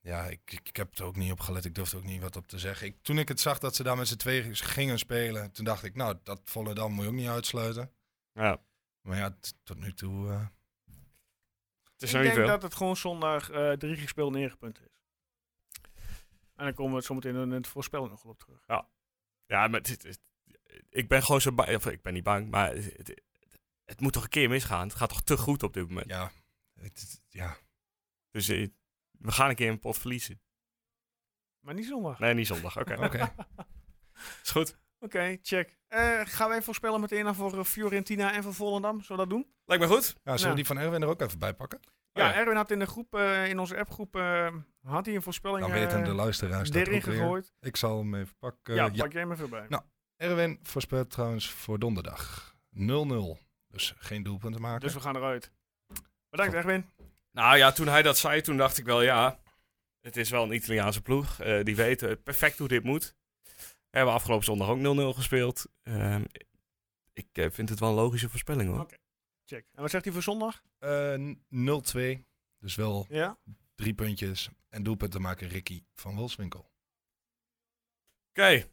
ja ik, ik, ik heb het ook niet op gelet. Ik durfde ook niet wat op te zeggen. Ik, toen ik het zag dat ze daar met z'n tweeën gingen spelen... toen dacht ik, nou, dat Volendam moet je ook niet uitsluiten. Ja, Maar ja, t- tot nu toe... eh, het is ik nog denk niet veel. dat het gewoon zondag eh, drie gespeeld negen punten is. En dan komen we het zometeen in het voorspellen nog wel op terug. Ja, maar het, het- het- ik ben gewoon zo bang, of ik ben niet bang, maar het, het, het moet toch een keer misgaan. Het gaat toch te goed op dit moment. ja, het- het- ja, Dus eh, we gaan een keer een pot verliezen. Maar niet zondag. Nee, niet zondag. Oké, oké. is goed. Oké, check. Eh, gaan wij voorspellen meteen naar voor eh, Fiorentina en voor Volendam? Zullen we dat doen? Lijkt me goed. Ja, zullen Nou. we die van Erwin er ook even bij pakken? Ja, Ja. Erwin had in de groep, eh, in onze appgroep, eh, had hij een voorspelling Dan weten eh, de luisteraars dat erin ook weer. gegooid. Ik zal hem even pakken. ja, Ja. pak jij maar voorbij. Nou, Erwin voorspelt trouwens voor donderdag 0-0. Dus geen doelpunten maken. Dus we gaan eruit. Bedankt Erwin. Nou ja, toen hij dat zei, toen dacht ik wel, ja, het is wel een Italiaanse ploeg. Eh, die weten perfect hoe dit moet. We hebben afgelopen zondag ook 0-0 gespeeld. Ehm, ik eh, vind het wel een logische voorspelling hoor. Oké. Check. En wat zegt hij voor zondag? Eh, n- 0-2. Dus wel Ja? drie puntjes. En doelpunten maken Ricky van Wilswinkel. Oké,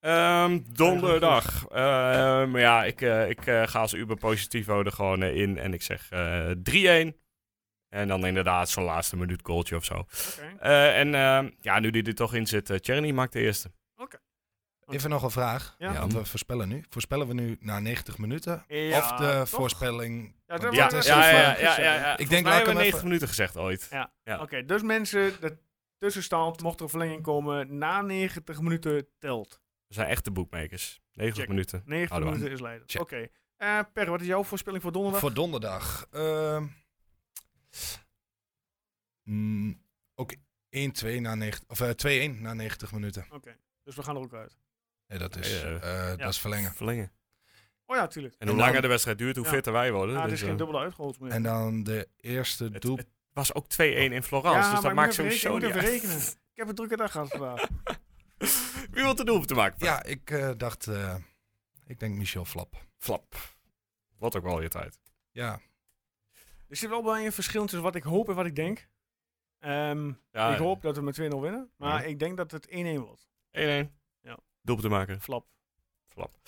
Ehm, donderdag. Ehm, ja, ik, eh, ik eh, ga als Uber Positivo er gewoon eh, in en ik zeg eh 3-1. En dan inderdaad zo'n laatste minuut goaltje of zo. Oké. Eh, en ehm, ja, nu die er toch in zit, eh Tjerni maakt de eerste. Even nog een vraag. Ja. Ja. Want we voorspellen nu. Voorspellen we nu na 90 minuten? Ja, of de toch? voorspelling... Ja, Want dat dat is ja, even- ja, ja, ja, ja, ja. Ik Volgens denk, mij laat hebben ik hem we 90 even... minuten gezegd ooit. Ja. Oké, dus mensen, de tussenstand, mocht er een verlenging komen, na 90 minuten telt. We zijn echte boekmakers. 90 Check. minuten. 90 Houden we minuten is leiden. Oké. Check. Eh, per, wat is jouw voorspelling voor donderdag? Voor donderdag. Ehm, mm, ook 1-2 na 90... Of eh, 2-1 na 90 minuten. Oké, dus we gaan er ook uit. Nee, dat is, Ja, ja. eh, dat is verlengen. Verlengen. Oh ja, tuurlijk. En hoe dan- langer de wedstrijd duurt, hoe Ja. fitter wij worden. Ah, er Dus, is geen eh, dubbele uitgehold meer. En dan de eerste het, doel... het was ook 2-1 in Florence, Ja, dus maar dat ik maakt moet even sowieso niet rekenen, ik moet uit. even Ik heb een drukke dag gehad vandaag. Wie wil de doel te maken? Ja, ik eh, dacht... eh, ik denk Michel Flap. Flap. Wat ook wel je tijd. Ja, Er zit wel bij een verschil tussen wat ik hoop en wat ik denk. Ehm, Ja, ik hoop dat we met 2-0 winnen, maar Ja. ik denk dat het 1-1 wordt. 1-1. Ja. Doel te maken. Flap. Flap.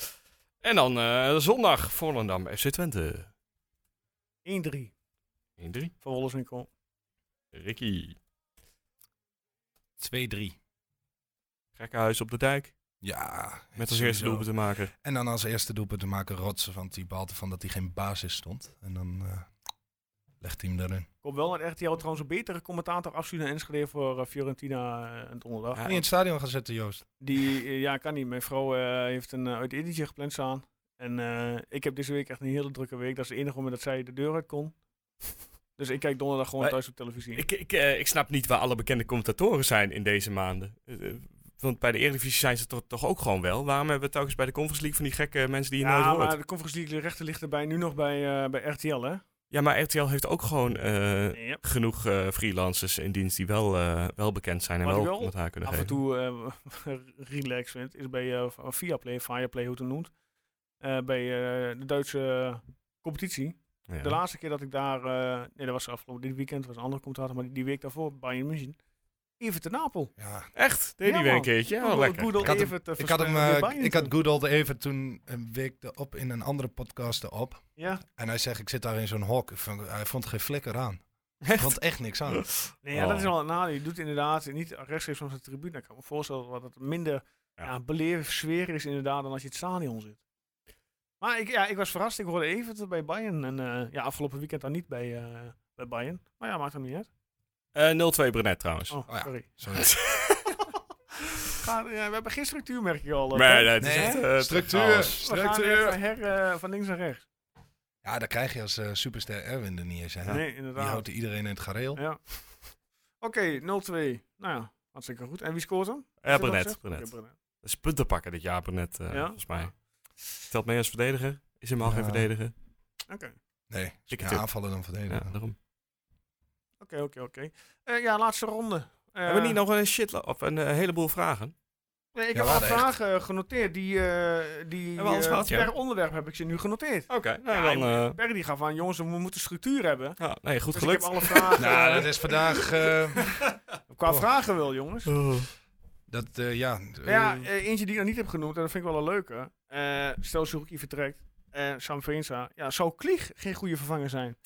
En dan eh, zondag Volendam FC Twente. 1-3 1-3. voor Wolles en Kool. Ricky. 2-3. Gekkenhuis op de dijk. Ja. Met als eerste doel sowieso. te maken. En dan als eerste doelpunt te maken rotsen van die Balte van dat hij geen basis stond. En dan eh, legt hij hem erin. Ik hoop wel dat RTL trouwens een betere commentator afstuurt naar Enschede voor eh, Fiorentina eh, en donderdag. Niet in het stadion gaan zetten, Joost. Die, eh, ja, kan niet. Mijn vrouw eh, heeft een eh, uit etentje gepland staan. En eh, ik heb deze week echt een hele drukke week. Dat is het enige moment dat zij de deur uit kon. Dus ik kijk donderdag gewoon Maar thuis op televisie. Ik, ik, eh, ik snap niet waar alle bekende commentatoren zijn in deze maanden. Eh, eh, want bij de Eredivisie zijn ze toch, toch ook gewoon wel. Waarom hebben we telkens bij de Conference League van die gekke mensen die je nooit ja, hoort? maar de Conference League rechten ligt erbij nu nog bij, eh, bij RTL, hè? Ja, maar RTL heeft ook gewoon eh, Ja. genoeg eh, freelancers in dienst die wel, eh, wel bekend zijn en Wat ik wel wel commentaar kunnen Af en geven. toe eh relax vindt, is bij eh Viaplay, Fireplay, hoe het hem noemt. Eh, bij eh, de Duitse competitie. Ja. De laatste keer dat ik daar, eh, nee, dat was afgelopen dit weekend, was een andere commentator, maar die, die week daarvoor, Bayern München. Even te Napel. Ja. Echt? Deed Ja, die weer een man. keertje? Ja, Goed- lekker. Goedel Ik had hem- even te Ik had, hem, verspreiden. eh, Bayern ik had toen. Good Old even toen een week erop in een andere podcast erop. Ja, En hij zegt, ik zit daar in zo'n hok. Ik vond- Hij vond geen flikker aan. Hij vond echt niks aan. nee, ja dat Oh. is al een nadeel. Je doet inderdaad niet rechtstreeks vanaf de tribune. Ik kan me voorstellen dat het minder Ja. ja. beleven sfeer is inderdaad dan als je in het stadion zit. Maar ik, ja, ik was verrast. Ik hoorde even dat bij Bayern. En eh, ja, afgelopen weekend dan niet bij, eh, bij Bayern. Maar ja, maakt hem niet uit. Eh, 0-2 Brenet trouwens. Oh, ja. sorry. Sorry. Ga- ja, we hebben geen structuur, merk ik al. eh, nee, Pep. nee, het is Nee, echt, eh, hè? structuur. chaos. We gaan even Structuur. her, eh, van links naar rechts. Ja, dat krijg je als eh, superster Erwin er niet eens. Hè? Nee, Die inderdaad. houdt iedereen in het gareel. Ja. Oké, 0-2. Nou ja, hartstikke goed. En wie scoort hem? Is Ja, dat Brenet. gezegd? Brenet. Oké, Brenet. Dat is punten pakken dit jaar, Brenet, eh, Ja? volgens mij. Telt mee als verdediger. Is helemaal geen Ja. verdediger. Oké. Nee, Ik ja, tip. aanvallen dan Ja, verdedigen. daarom. Oké, oké, oké. Eh, ja, laatste ronde. Eh, Hebben we niet nog een shitlo of een eh, heleboel vragen? nee, ik heb Ja, we al hadden echt- vragen genoteerd. Die, eh, die Hebben we alles eh, gehad, ja. per onderwerp heb ik ze nu genoteerd. Oké, nou Ja, dan... eh, Perry die gaf aan, jongens, we moeten structuur hebben. ja, nee, goed Dus ik heb gelukt. alle vragen. Nou, eh, dat is vandaag... eh, Qua Oh. vragen wel, jongens. Oh. dat, eh, ja, Maar ja, eh, eh, eentje die ik nog niet heb genoemd, en dat vind ik wel een leuke. Eh, stel Suzuki vertrekt en Sam Veensa. Ja, zou Klieg geen goede vervanger zijn?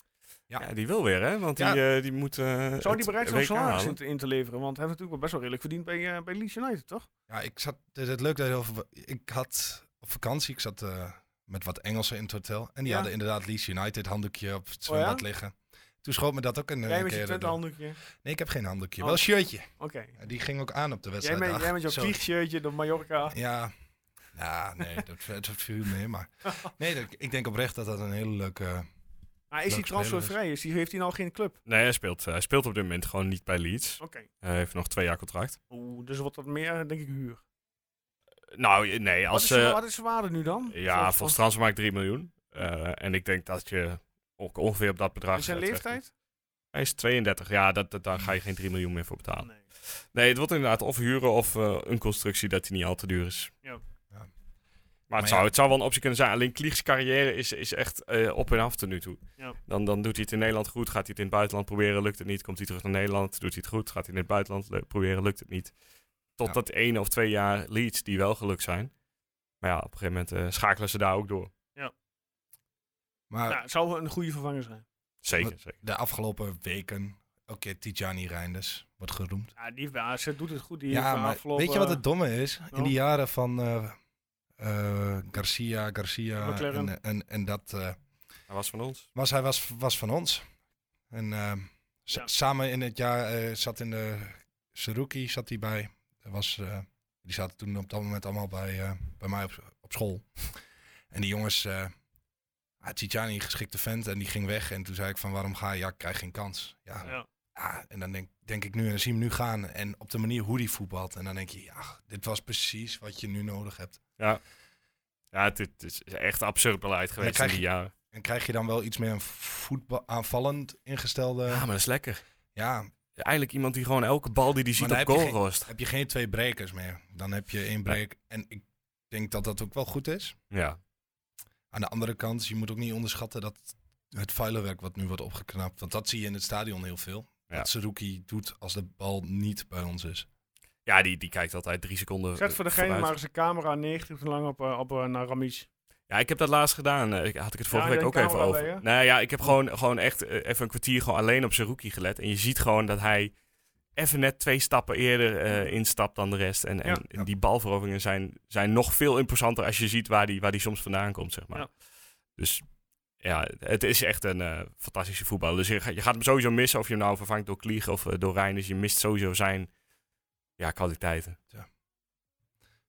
Ja. Ja, die wil weer, hè? Want die, Ja. eh, die moet... eh Zou het die bereid zijn om WK salaris in halen. te, in te leveren? Want hij heeft natuurlijk wel best wel redelijk verdiend bij, eh, bij Leeds United, toch? Ja, ik zat. Het is leuk dat je over. Ik had op vakantie. Ik zat eh, met wat Engelsen in het hotel. En die Ja. Oh hadden inderdaad Leeds United handdoekje op het zwembad liggen. Toen schoot me dat ook een, Jij met een je keer. Twente erdoor. handdoekje. Nee, ik heb geen handdoekje. Oh. Wel een shirtje. Oké. Die ging ook aan op de Jij, wedstrijd. met- jij met jouw Zo. Klieg-shirtje, de Mallorca. Ja. Ja, nee, dat, dat viel mee. Maar nee, dat- ik denk oprecht dat dat een hele leuke. Maar Ah, is hij Leuk speler is. transfervrij? Is die, heeft hij nou geen club? Nee, hij speelt, eh, hij speelt op dit moment gewoon niet bij Leeds. Oké. Hij heeft nog twee jaar contract. Oeh, dus wordt dat meer, denk ik, huur. Nou, eh, nee, Wat als... is, zijn- eh, wat is zijn waarde nu dan? ja, Volgens- volgens transfermarkt 3 miljoen. Eh, en ik denk dat je ook ongeveer op dat bedrag... En zijn eh, terecht- leeftijd? Hij is 32. Ja, dat, dat, daar ga je geen 3 miljoen meer voor betalen. Nee. Nee, het wordt inderdaad of huren of eh, een constructie dat die niet al te duur is. Ja. Ja. Maar, Maar het, ja. zou, het zou wel een optie kunnen zijn. Alleen Klieg's carrière is, is echt eh, op en af tot nu toe. Ja. Dan, dan doet hij het in Nederland goed, gaat hij het in het buitenland proberen, lukt het niet. Komt hij terug naar Nederland, doet hij het goed, gaat hij in het buitenland le- proberen, lukt het niet. Tot Ja. dat één of twee jaar leads die wel gelukt zijn. Maar ja, op een gegeven moment eh, schakelen ze daar ook door. Maar Ja, het zou een goede vervanger zijn. Zeker, Wat- zeker. de afgelopen weken, ook keer Tijani Reinders wordt geroemd. Ja, die bij AZ doet het goed. Die ja, heeft, eh, maar afgelopen, weet je wat het domme is? In nou? die jaren van eh, eh, Garcia, Garcia McLaren. en, en, en dat... eh, Dat was van ons. was, hij was, was van ons. En ehm, sa- Ja. samen in het jaar eh, zat in de Saruki zat hij bij. Er was, eh, die zaten toen op dat moment allemaal bij, eh, bij mij op, op school. En die jongens, eh ah, Tijani, geschikte vent, en die ging weg. En toen zei ik van, waarom ga je? Ja, ik krijg geen kans. Ja, Ja. ah, en dan denk, denk ik nu, en dan zie je hem nu gaan. En op de manier hoe die voetbalt. En dan denk je, ja, dit was precies wat je nu nodig hebt. Ja, het, het is echt absurd beleid geweest krijg in die jaren. En krijg je dan wel iets meer een voetbal aanvallend ingestelde... Ja, Ah, maar dat is lekker. ja, Eigenlijk iemand die gewoon elke bal die die ziet Maar dan op heb je goal geen- rost. heb je geen twee brekers meer. Dan heb je één break. En ik denk dat dat ook wel goed is. Ja, Aan de andere kant, je moet ook niet onderschatten dat het vuilenwerk wat nu wordt opgeknapt. Want dat zie je in het stadion heel veel. Ja. Dat Saruki doet als de bal niet bij ons is. ja die, die kijkt altijd drie seconden Zet eh, voor degene vooruit. maar eens een camera 90 minuten lang op, eh, op, eh, naar Ramiz. Ja, ik heb dat laatst gedaan. Eh, Ik had ik het vorige Ja, week je ook hebt even camera over. bij je? nou ja, ik heb gewoon, gewoon echt eh, even een kwartier gewoon alleen op zijn rookie gelet. En je ziet gewoon dat hij even net twee stappen eerder eh, instapt dan de rest. En, en, Ja. die balveroveringen zijn, zijn nog veel imposanter als je ziet waar die, waar die soms vandaan komt, zeg maar. Ja. Dus ja, het is echt een eh, fantastische voetballer. Dus je, gaat- je gaat hem sowieso missen, of je hem nou vervangt door Klieg of eh, door Reinders. Je mist sowieso zijn ja, kwaliteiten.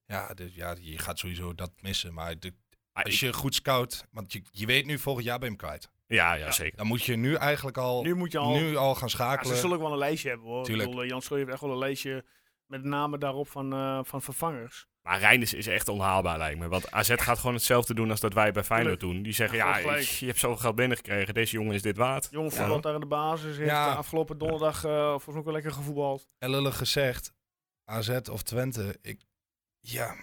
Ja, dus ja, je gaat sowieso dat missen. Maar de- Ah, als ik- je goed scout, want je, je weet nu volgend jaar ben je hem kwijt. ja, ja, zeker. Dan moet je nu eigenlijk al, Nu Oh, nu moet je al... al, gaan ja, ze schakelen. zullen ook wel een lijstje hebben hoor. Tuurlijk. Ik bedoel, eh, Jan Schooijen heeft echt wel een lijstje met namen daarop van, eh, van vervangers. Maar Reinders is echt onhaalbaar, lijkt me. Want AZ gaat gewoon hetzelfde doen als dat wij bij Feyenoord doen. Die zeggen, Ja, ja, gewoon ik- gelijk. je hebt zoveel geld binnengekregen. Deze jongen is dit waard. Jong Ja. voetbalt daar in de basis. Heeft Ja. eh, afgelopen donderdag eh, volgens mij ook wel lekker gevoetbald. En lullig gezegd, AZ of Twente, ik, ja,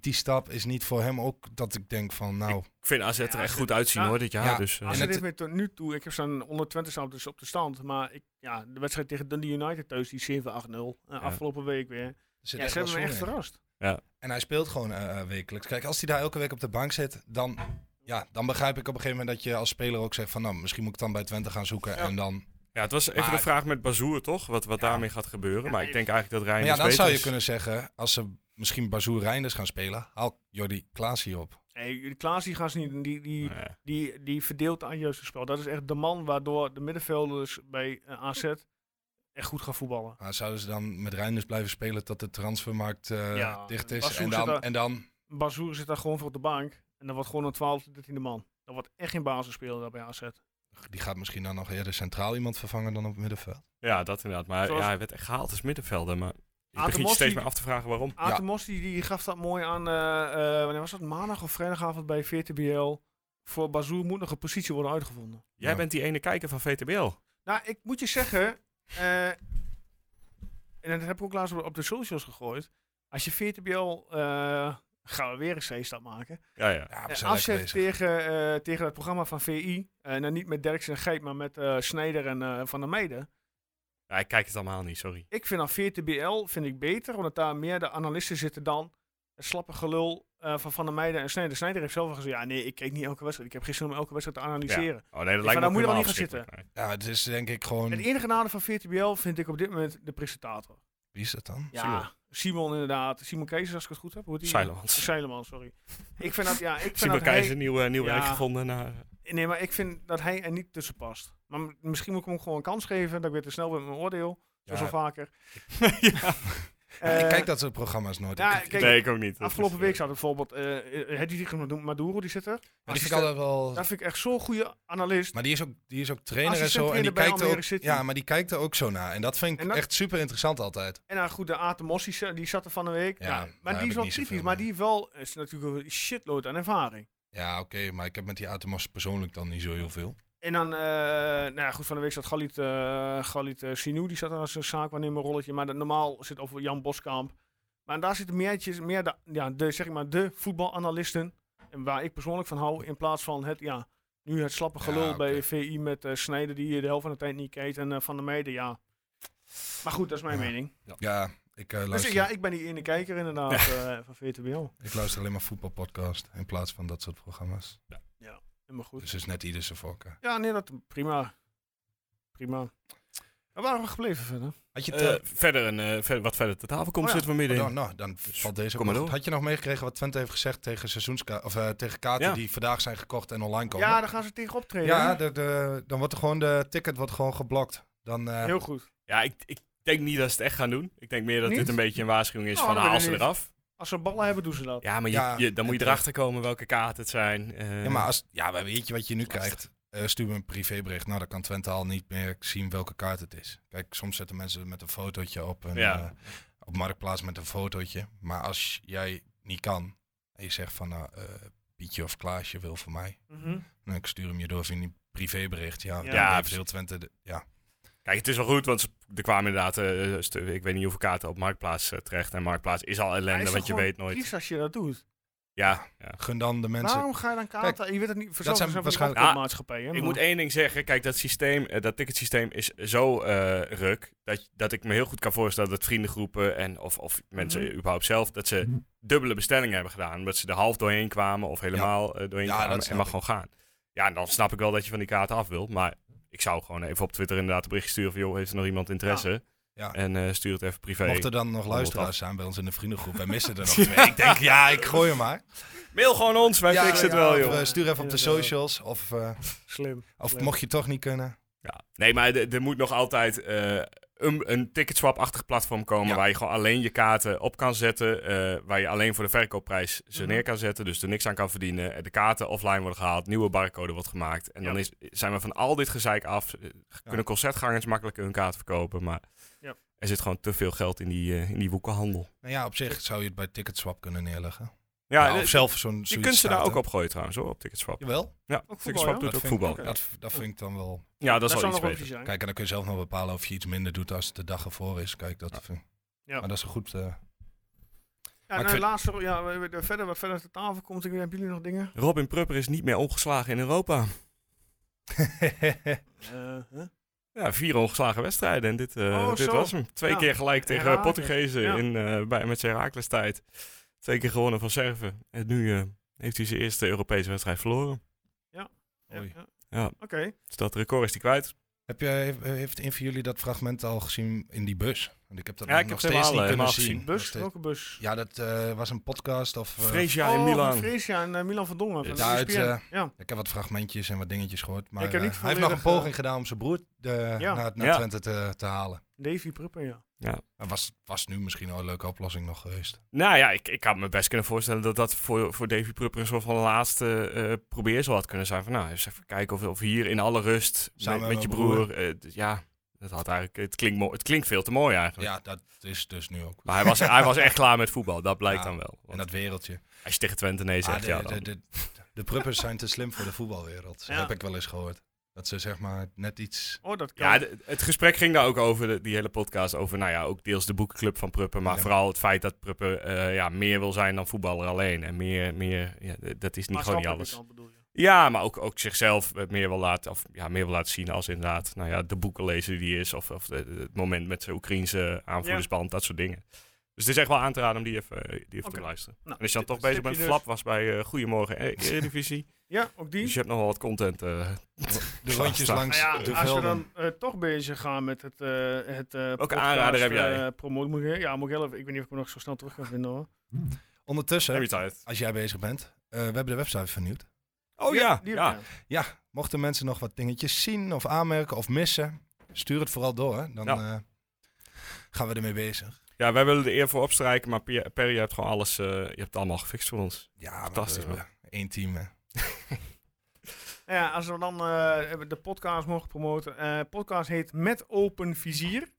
die stap is niet voor hem ook dat ik denk van, nou, Ik vind AZ er Ja, echt ze- goed uitzien, ja. hoor, dit jaar. Ja. Dus, eh, En AZ het- heeft me tot nu toe, ik heb zo'n 120 staan dus op de stand, maar ik, ja, de wedstrijd tegen Dundee United thuis, die 7-8-0, eh, afgelopen week weer. er zit Ja, echt ze wel hebben me echt zon in. verrast. En hij speelt gewoon eh, eh, wekelijks. Kijk, als hij daar elke week op de bank zit, dan, ja, dan begrijp ik op een gegeven moment dat je als speler ook zegt van, nou, misschien moet ik dan bij Twente gaan zoeken. En dan, ja, het was even Maar- de vraag met Bazoer, toch? Wat, wat Ja. daarmee gaat gebeuren. Maar Ja, ik denk eigenlijk dat maar Reinders ja, dan beter zou je is. kunnen zeggen, als ze misschien Bazoer Reinders gaan spelen, haal Jordi Klaas hier op. Hey, Klaas die gaat ze niet, die, die, Nee. die, die verdeelt aan juiste spel. Dat is echt de man waardoor de middenvelders bij eh, AZ echt goed gaan voetballen. Maar zouden ze dan met Reinders blijven spelen tot de transfermarkt eh, Ja, dicht is? Bazoer En zit dan, daar- en dan, Bazoer zit daar gewoon voor op de bank en dan wordt gewoon een 12 13e man. Dat wordt echt geen basisspeler daar bij AZ. die gaat misschien dan nog eerder centraal iemand vervangen dan op het middenveld. Ja, dat inderdaad. Maar Zoals- ja, hij werd echt gehaald als middenvelder. Maar ik begin je Atamossi- steeds meer af te vragen waarom. Atemos die, die gaf dat mooi aan, eh, eh, wanneer was dat, maandag of vrijdagavond bij VTBL. Voor Bazoer moet nog een positie worden uitgevonden. Jij Ja. bent die ene kijker van VTBL. Nou, ik moet je zeggen. eh, en dat heb ik ook laatst op, op de socials gegooid. Als je VTBL. eh gaan we weer een C-stap maken. Ja, ja. Ja, we Eh, zijn lekker afzet bezig. tegen, eh, tegen het programma van VI. En dan nou, niet met Derksen en Geit, maar met eh Snijder en eh, Van der Meijden. Ja, ik kijk het allemaal niet, sorry. Ik vind dan VTBL vind ik beter, omdat daar meer de analisten zitten dan het slappe gelul eh, van Van der Meijden en Snijder. Snijder heeft zelf al gezegd, ja nee, ik keek niet elke wedstrijd. Ik heb geen zin om elke wedstrijd te analyseren. Oh nee, dat ga- lijkt me daar moet je wel helemaal niet gaan verschrikkelijk. Nee. Ja, het is denk ik gewoon, Het enige nadeel van VTBL vind ik op dit moment de presentator. wie is dat dan? Ja, Simon. Simon, inderdaad. Simon Kees, als ik het goed heb. Hoe heet die? Seilemans. Seilemans, sorry. Ik vind dat, ja, ik vind Simon dat Keizer, hij, een nieuw, eh, nieuw Ja. rijk gevonden. Naar, nee, maar ik vind dat hij er niet tussen past. Maar m- misschien moet ik hem gewoon een kans geven. Dat ik weer te snel ben met mijn oordeel. Zoals Ja. al vaker. ja. Ja, ik Eh, kijk dat soort programma's nooit. ja, Ik- ik- kijk, Nee, ik ook niet. Dat Afgelopen is, week zat er bijvoorbeeld eh Hedwig Maduro, die zit er. Maar die vind ik Assistent- altijd wel. Dat vind ik echt zo'n goede analist. Maar die is ook, die is ook trainer en zo. En die Assistent-trainer bij kijkt er ook, Almere City. ja, maar die kijkt er ook zo naar. En dat vind ik En dat- echt super interessant altijd. En nou goed, de Atemossi, die, die zat er van de week. Ja, Ja, daar maar die heb ik is wel niet zoveel kritisch. Maar mee. die wel, is natuurlijk een shitload aan ervaring. Ja, oké, maar ik heb met die Atomos persoonlijk dan niet zo heel veel. En dan, eh, nou ja, goed, van de week zat Galit, eh Galit eh, Sinou, die zat er als een zaakwaarnemer rolletje. Maar dat, normaal zit over Jan Boskamp. Maar daar zitten meertjes, meer de, ja, de, zeg ik maar, de voetbalanalisten. En waar ik persoonlijk van hou, in plaats van het, ja, nu het slappe gelul Ja, oké. bij VI met eh Snijder, die de helft van de tijd niet kijkt. En eh, Van der Meijden, ja. Maar goed, dat is mijn Ja. mening. Ja, Ik, eh, Dus luister, ik- ja, ik ben die ene kijker inderdaad eh, van VTBL. ik luister alleen maar voetbalpodcast in plaats van dat soort programma's. Helemaal goed. Dus het is net ieder zijn voorkeur. Ja, nee, dat prima. Prima. En waar waren we gebleven verder? Had je Eh, te- verder een, eh, ver- wat verder te tafel komt, Oh ja. zitten we midden Nou, in. nou, dan valt deze kom ook maar nog. door. Had je nog meegekregen wat Twente heeft gezegd tegen, seizoenska of, eh, tegen kaarten Ja. die vandaag zijn gekocht en online komen? Ja, daar gaan ze tegen optreden. Ja, hè? de, de- dan wordt er gewoon de ticket wordt gewoon geblokt. Dan, eh, heel goed. Ja, ik, ik denk niet dat ze het echt gaan doen. Ik denk meer dat Niet? dit een beetje een waarschuwing is Oh, van dat haal weet ze ik niet. eraf. Als ze ballen hebben, doen ze dat. Ja, maar je, Ja, je- dan moet je en erachter komen welke kaarten het zijn. eh, ja, maar als, ja, maar weet je wat je nu krijgt? Eh, stuur me een privébericht. Nou, dan kan Twente al niet meer zien welke kaart het is. Kijk, soms zetten mensen met een fotootje op. Een, Ja. eh, op Marktplaats met een fotootje. Maar als jij niet kan en je zegt van nou, eh, Pietje of Klaasje wil voor mij. Mhm. Nou, ik stuur hem je door via een privébericht. Ja, Ja. ja, Ja, heeft heel Twente. de- ja. Kijk, het is wel goed, want ze- er kwamen inderdaad, eh, stu- ik weet niet hoeveel kaarten op Marktplaats eh, terecht. En Marktplaats is al Hij is ellende, toch want je gewoon weet nooit. triest als je dat doet. Ja, ja. Gun dan de mensen. Nou, Waarom ga je dan kaarten? je weet het niet. Voor dat zijn waarschijnlijk waarschijnlijk- maatschappijen. Ah, Ik moet één ding zeggen. Kijk, dat systeem, eh, dat ticketsysteem is zo eh, ruk. Dat, dat ik me heel goed kan voorstellen dat vriendengroepen en of, of mensen Mhm. überhaupt zelf, dat ze dubbele bestellingen hebben gedaan. Omdat ze er half doorheen kwamen of helemaal eh, doorheen Ja, dat kwamen en snap mag ik. gewoon gaan. Ja, en dan snap ik wel dat je van die kaarten af wilt. Maar ik zou gewoon even op Twitter inderdaad een berichtje sturen van joh, heeft er nog iemand interesse? Ja. En eh, stuur het even privé. Mocht er dan nog Allemaal luisteraars zijn bij ons in de vriendengroep. Wij missen er nog twee. Ik denk, ja, ik gooi hem maar. Mail gewoon ons, wij ja, fixen ja, het wel, of, joh. eh, stuur even op de Inderdaad. socials. Of, eh, Slim. of Leuk. mocht je toch niet kunnen. Ja. Nee, maar er er moet nog altijd eh, een, een ticketswap-achtig platform komen Ja. waar je gewoon alleen je kaarten op kan zetten. eh, waar je alleen voor de verkoopprijs ze Mhm. neer kan zetten, dus er niks aan kan verdienen. Eh, De kaarten offline worden gehaald, nieuwe barcode wordt gemaakt. En dan Ja. is, zijn we van al dit gezeik af. Eh, Kunnen concertgangers makkelijker hun kaart verkopen, maar Ja. er zit gewoon te veel geld in die, eh, in die woekenhandel. Nou ja, op zich zou je het bij Ticketswap kunnen neerleggen. Ja, Ja, eh, of zelf zo'n je zoiets kunt ze daar starten. ook op gooien trouwens, hoor, op ticketswap. Ja, Jawel. voetbal, ja? ticketswap doet dat, ook vind voetbal. ik, dat, dat vind ik dan wel. Ja, dat Dat is wel zou iets nog wel beter. vies zijn. Kijk, en dan kun je zelf nog bepalen of je iets minder doet als het de dag ervoor is. Kijk, dat Ja. vind ik- Ja. Maar dat is een goed... eh, Ja, ik nou, vind- laatste, ja, we- we- de- verder, wat verder te tafel komt, ik, hebben jullie nog dingen? Robin Prupper is niet meer ongeslagen in Europa. Eh, Ja, vier ongeslagen wedstrijden. En dit, eh, Oh, dit zo. was hem. Twee Nou, Ja. keer gelijk tegen Herakles. Portugezen Ja. in, eh, bij, met zijn Herakles tijd. Twee keer gewonnen van Serven. En nu eh, heeft hij zijn eerste Europese wedstrijd verloren. Ja, Oei. ja. Ja. Oké. Dus dat record is hij kwijt. heb je, heeft- heeft een van jullie dat fragment al gezien in die bus? Want ik heb dat Ja, ik nog heb het steeds helemaal, niet eh, helemaal kunnen zien. gezien. Nog Bus, steeds- welke bus? Ja, dat eh, was een podcast of... eh, Freesia in Oh, Milan. van Fresia en eh, Milan van Dongen. Van E Ja, de het, ESPN. eh, ja. Ik heb wat fragmentjes en wat dingetjes gehoord. Maar Ik heb eh, niet hij heeft nog een volledig, eh, poging gedaan om zijn broer eh, Ja. naar, naar Ja. Twente te, te halen. Davy Prupper, ja. Maar was, was nu misschien al een leuke oplossing nog geweest. Nou ja, ik, ik had me best kunnen voorstellen dat dat voor, voor Davy Prupper een soort van laatste eh probeersel had kunnen zijn. Van nou, eens even kijken of, of hier in alle rust Samen met, met je met broer. mijn eh, d- ja, dat had eigenlijk, het, klinkt mo- het klinkt veel te mooi eigenlijk. Ja, dat is dus nu ook. Maar hij was, hij was echt klaar met voetbal, dat blijkt Ja. dan wel. En Want dat wereldje. als je tegen Twente nee Ah, zegt, de, ja, de, dan, de, de pruppers zijn te slim voor de voetbalwereld. Ja. Dat heb ik wel eens gehoord. Dat ze zeg maar net iets... Oh, dat kan. Ja, de- het gesprek ging daar ook over, de- die hele podcast, over nou ja, ook deels de boekenclub van Pruppen, maar Ja. vooral het feit dat Pruppen eh, ja, meer wil zijn dan voetballer alleen. En meer, meer ja, d- dat is niet gewoon niet Maatschappelijk alles. dan, bedoel je. Ja, maar ook, ook zichzelf eh, meer wil, laten, of, ja, meer wil laten zien als inderdaad nou ja, de boekenlezer die is, of, of de- de- het moment met zijn Oekraïense aanvoerdersband, dat soort dingen. Dus het is echt wel aan te raden om die even, eh, die even Oké. te luisteren. Nou, en als je dan dit- toch bezig dit heb bent, je dus. Flap was bij eh, Goedemorgen eh, Eredivisie, Ja, ook die. dus je hebt nog wel wat content. eh. De Ja, rondjes sta- langs Nou ja, de als we velden. dan eh, toch bezig gaan met het, eh het eh Welke aanrader heb jij? promoten, moet ik, ja, moet ik heel even, ik weet niet of ik hem nog zo snel terug kan vinden hoor. Ondertussen, Every time. als jij bezig bent, eh, we hebben de website vernieuwd. Oh ja, Die heb ja. ik, ja. Ja, mochten mensen nog wat dingetjes zien of aanmerken of missen, stuur het vooral door. hè. Dan Ja. eh, gaan we ermee bezig. Ja, wij willen de eer voor opstrijken, maar Pier- Perry, je hebt gewoon alles, eh, je hebt het allemaal gefixt voor ons. Ja, maar Fantastisch, we- man. Eén team, hè. Nou ja, als we dan eh, de podcast mogen promoten. Eh podcast heet Met Open Vizier.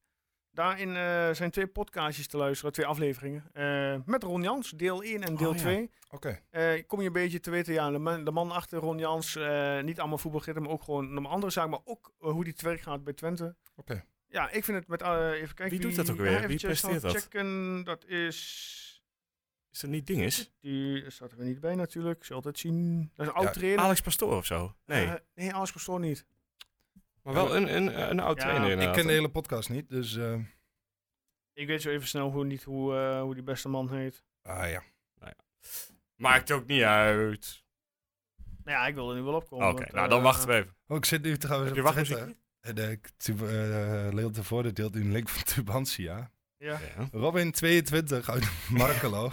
Daarin eh, zijn twee podcastjes te luisteren, twee afleveringen. Eh, met Ron Jans, deel 1 en deel Oh, ja. 2. Oké. Eh, kom je een beetje te weten, ja, de man, de man achter Ron Jans, eh, niet allemaal voetbalgidden, maar ook gewoon een andere zaak, maar ook eh, hoe die het werk gaat bij Twente. Oké. Ja, ik vind het met, eh, even kijken. Wie doet dat ook weer? ja, Wie eventjes presteert snel dat? checken, dat is, Is dat niet dinges? die staat er weer niet bij natuurlijk, zult het zien. Dat is een oud Ja, trainer. Alex Pastoor of zo? Nee, Eh, nee, Alex Pastoor niet. maar wel een, een, een oud Ja, trainer ik inderdaad. Ik ken de hele podcast niet, dus... eh, Ik weet zo even snel hoe, niet hoe, eh, hoe die beste man heet. Ah ja. Maakt ook niet uit. Nou ja, ik wil er nu wel op Oké, komen. want, nou eh, dan wachten we even. Oh, ik zit nu trouwens Heb je op Twitter. wachtmuziekje? En eh, ik- tu- eh, Leel tevoren deelt nu een link van Tubantia. Ja. Ja, Robin22 uit Markelo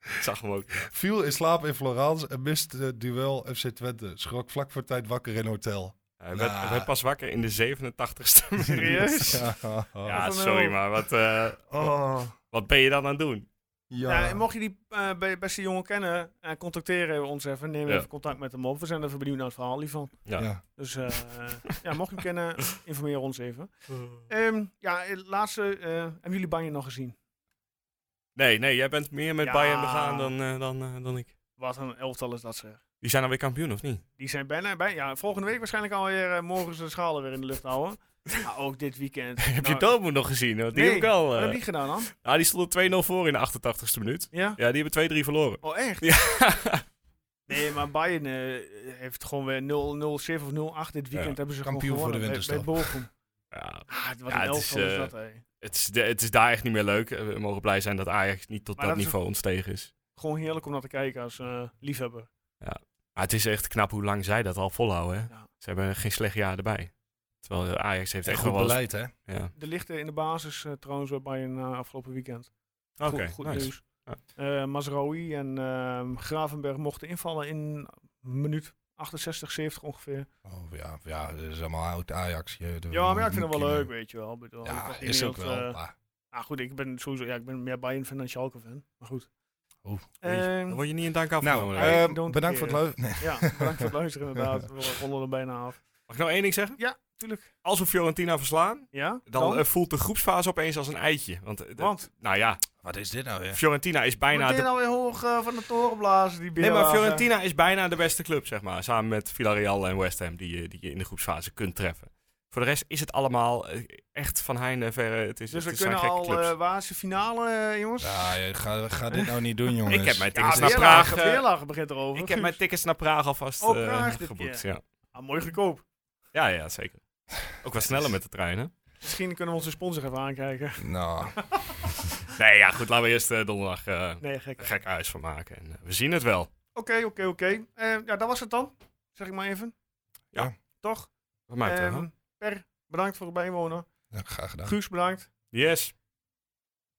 ik zag hem ook. viel in slaap in Florence en miste het duel FC Twente. Schrok vlak voor tijd wakker in hotel. Hij werd, hij werd pas wakker in de 87ste minuut. Serieus? Oh, Ja, Ja, Wat een sorry, hel. maar wat, eh, Oh, wat ben je dan aan het doen? ja. Ja, en mocht je die eh, be- beste jongen kennen, eh contacteer ons even. Neem Ja. even contact met hem op. We zijn even benieuwd naar het verhaal hiervan. Ja. Ja. Dus eh, ja, mocht je hem kennen, informeer ons even. Ehm, ja, het laatste. eh, hebben jullie Bayern nog gezien? Nee, nee, jij bent meer met Ja. Bayern begaan dan, eh, dan, eh, dan ik. Wat een elftal is dat zeg. Die zijn alweer kampioen, of niet? Die zijn bijna, bij, ja, volgende week waarschijnlijk alweer eh, morgen de schalen weer in de lucht houden. Maar ook dit weekend. Heb je Nou, Dortmund nog gezien? Want die nee, heb ik al. Wat eh, hebben die gedaan dan? nou, die stond 2-0 voor in de 88ste minuut. Ja? Ja, die hebben 2-3 verloren. Oh, echt? Ja. Nee, maar Bayern eh, heeft gewoon weer 0-0-7 of 0-8 dit weekend. Ja, hebben ze kampioen gewoon voor de gewonnen bij- winterstop. Bij Bochum. Ja, Ah, wat Ja, een het is, elftal is, eh, dat, hé. het, is de- het is daar echt niet meer leuk. Eh, We mogen blij zijn dat Ajax niet tot Maar dat dat is niveau ontstegen is. Gewoon heerlijk om naar te kijken als eh, liefhebber. Maar het is echt knap hoe lang zij dat al volhouden. Hè? Ja. Ze hebben geen slecht jaar erbij. Terwijl eh, Ajax heeft Echt echt nog goed wel... eens- beleid, hè? Ja. Er ligt eh, in de basis eh, trouwens bij Bayern eh, afgelopen weekend. Oké, goed goed nice. nieuws. Ja. Eh Mazraoui en ehm, Gravenberg mochten invallen in minuut 68, 70 ongeveer. Oh ja, ja, dat is allemaal oud Ajax. Je, de- Ja, maar ja, ik vind het wel moet je- leuk, weet je wel. Ik bedoel, ik Ja, had is niet ook dat, wel. eh, maar- ah, goed, ik ben sowieso ja, ik ben meer Bayern-fan dan Schalke-fan. Maar goed. Oh, Oeh, Oei, Ehm, Dan word je niet in dank afgenomen. nou, hè? eh, eh, I don't bedankt voor het care. luisteren. ja, bedankt voor het luisteren inderdaad. We rollen er bijna af. Mag ik nou één ding zeggen? Tuurlijk. Als we Fiorentina verslaan, Ja? dan, eh, voelt de groepsfase opeens als een eitje. Want, eh, dat- Want? Nou ja, Wat is dit nou weer? Fiorentina is Moet bijna je de... nou weer hoog eh, van de toren blazen, die Nee, maar beerlagen? Fiorentina is bijna de beste club, zeg maar. Samen met Villarreal en West Ham, die je, die je in de groepsfase kunt treffen. Voor de rest is het allemaal eh, echt van heinde verre. Het is, Dus het we zijn kunnen gekke al, clubs. eh waar is de finale, eh, jongens? Ja, je- ga, ga dit nou niet doen, jongens. ik heb mijn Ja, tickets naar Beerlagen, Praag... eh, Beerlagen begint erover. ik heb mijn Guus. tickets naar Praag alvast Oh, eh, Praag dit geboekt. keer. Ja. Ah, mooi goedkoop. Ja, ja, zeker. Ook wat sneller met de trein, hè? Misschien kunnen we onze sponsor even aankijken. Nou, Nee, ja, goed. Laten we eerst eh, donderdag eh, Nee, gek. een gek huis van maken. En, eh, we zien het wel. Oké, oké, oké. Eh, Ja, dat was het dan. Zeg ik maar even. Ja. Toch? Wat maakt het, Ehm, hè? per, bedankt voor het bijwonen. ja, graag gedaan. Guus, bedankt. Yes.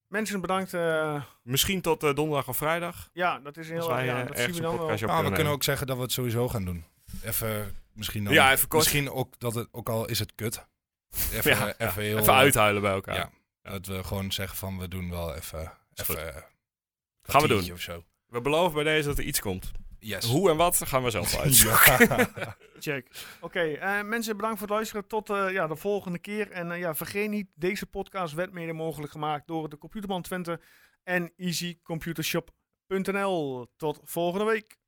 Mensen, bedankt. eh, Misschien tot eh, donderdag of vrijdag. ja, dat is Als heel erg. wij Ja, eh, dat zien ergens we een dan wel. podcastje op Maar Ah, we kunnen nemen. ook zeggen dat we het sowieso gaan doen. Even, misschien dan. Ja, even kort. Misschien ook dat het, ook al is het kut. Even, Ja, eh, even heel. Even uithuilen bij elkaar. Ja. Dat we gewoon zeggen van we doen wel even. Is goed. even eh, Gaan we kwartiertje doen. Of zo. We beloven bij deze dat er iets komt. Yes. Hoe en wat gaan we zelf uit. Ja. Check. Oké, eh, mensen, bedankt voor het luisteren. Tot eh, ja, de volgende keer. En eh, ja, vergeet niet, deze podcast werd mede mogelijk gemaakt door de Computerman Twente en easycomputershop.nl. Tot volgende week.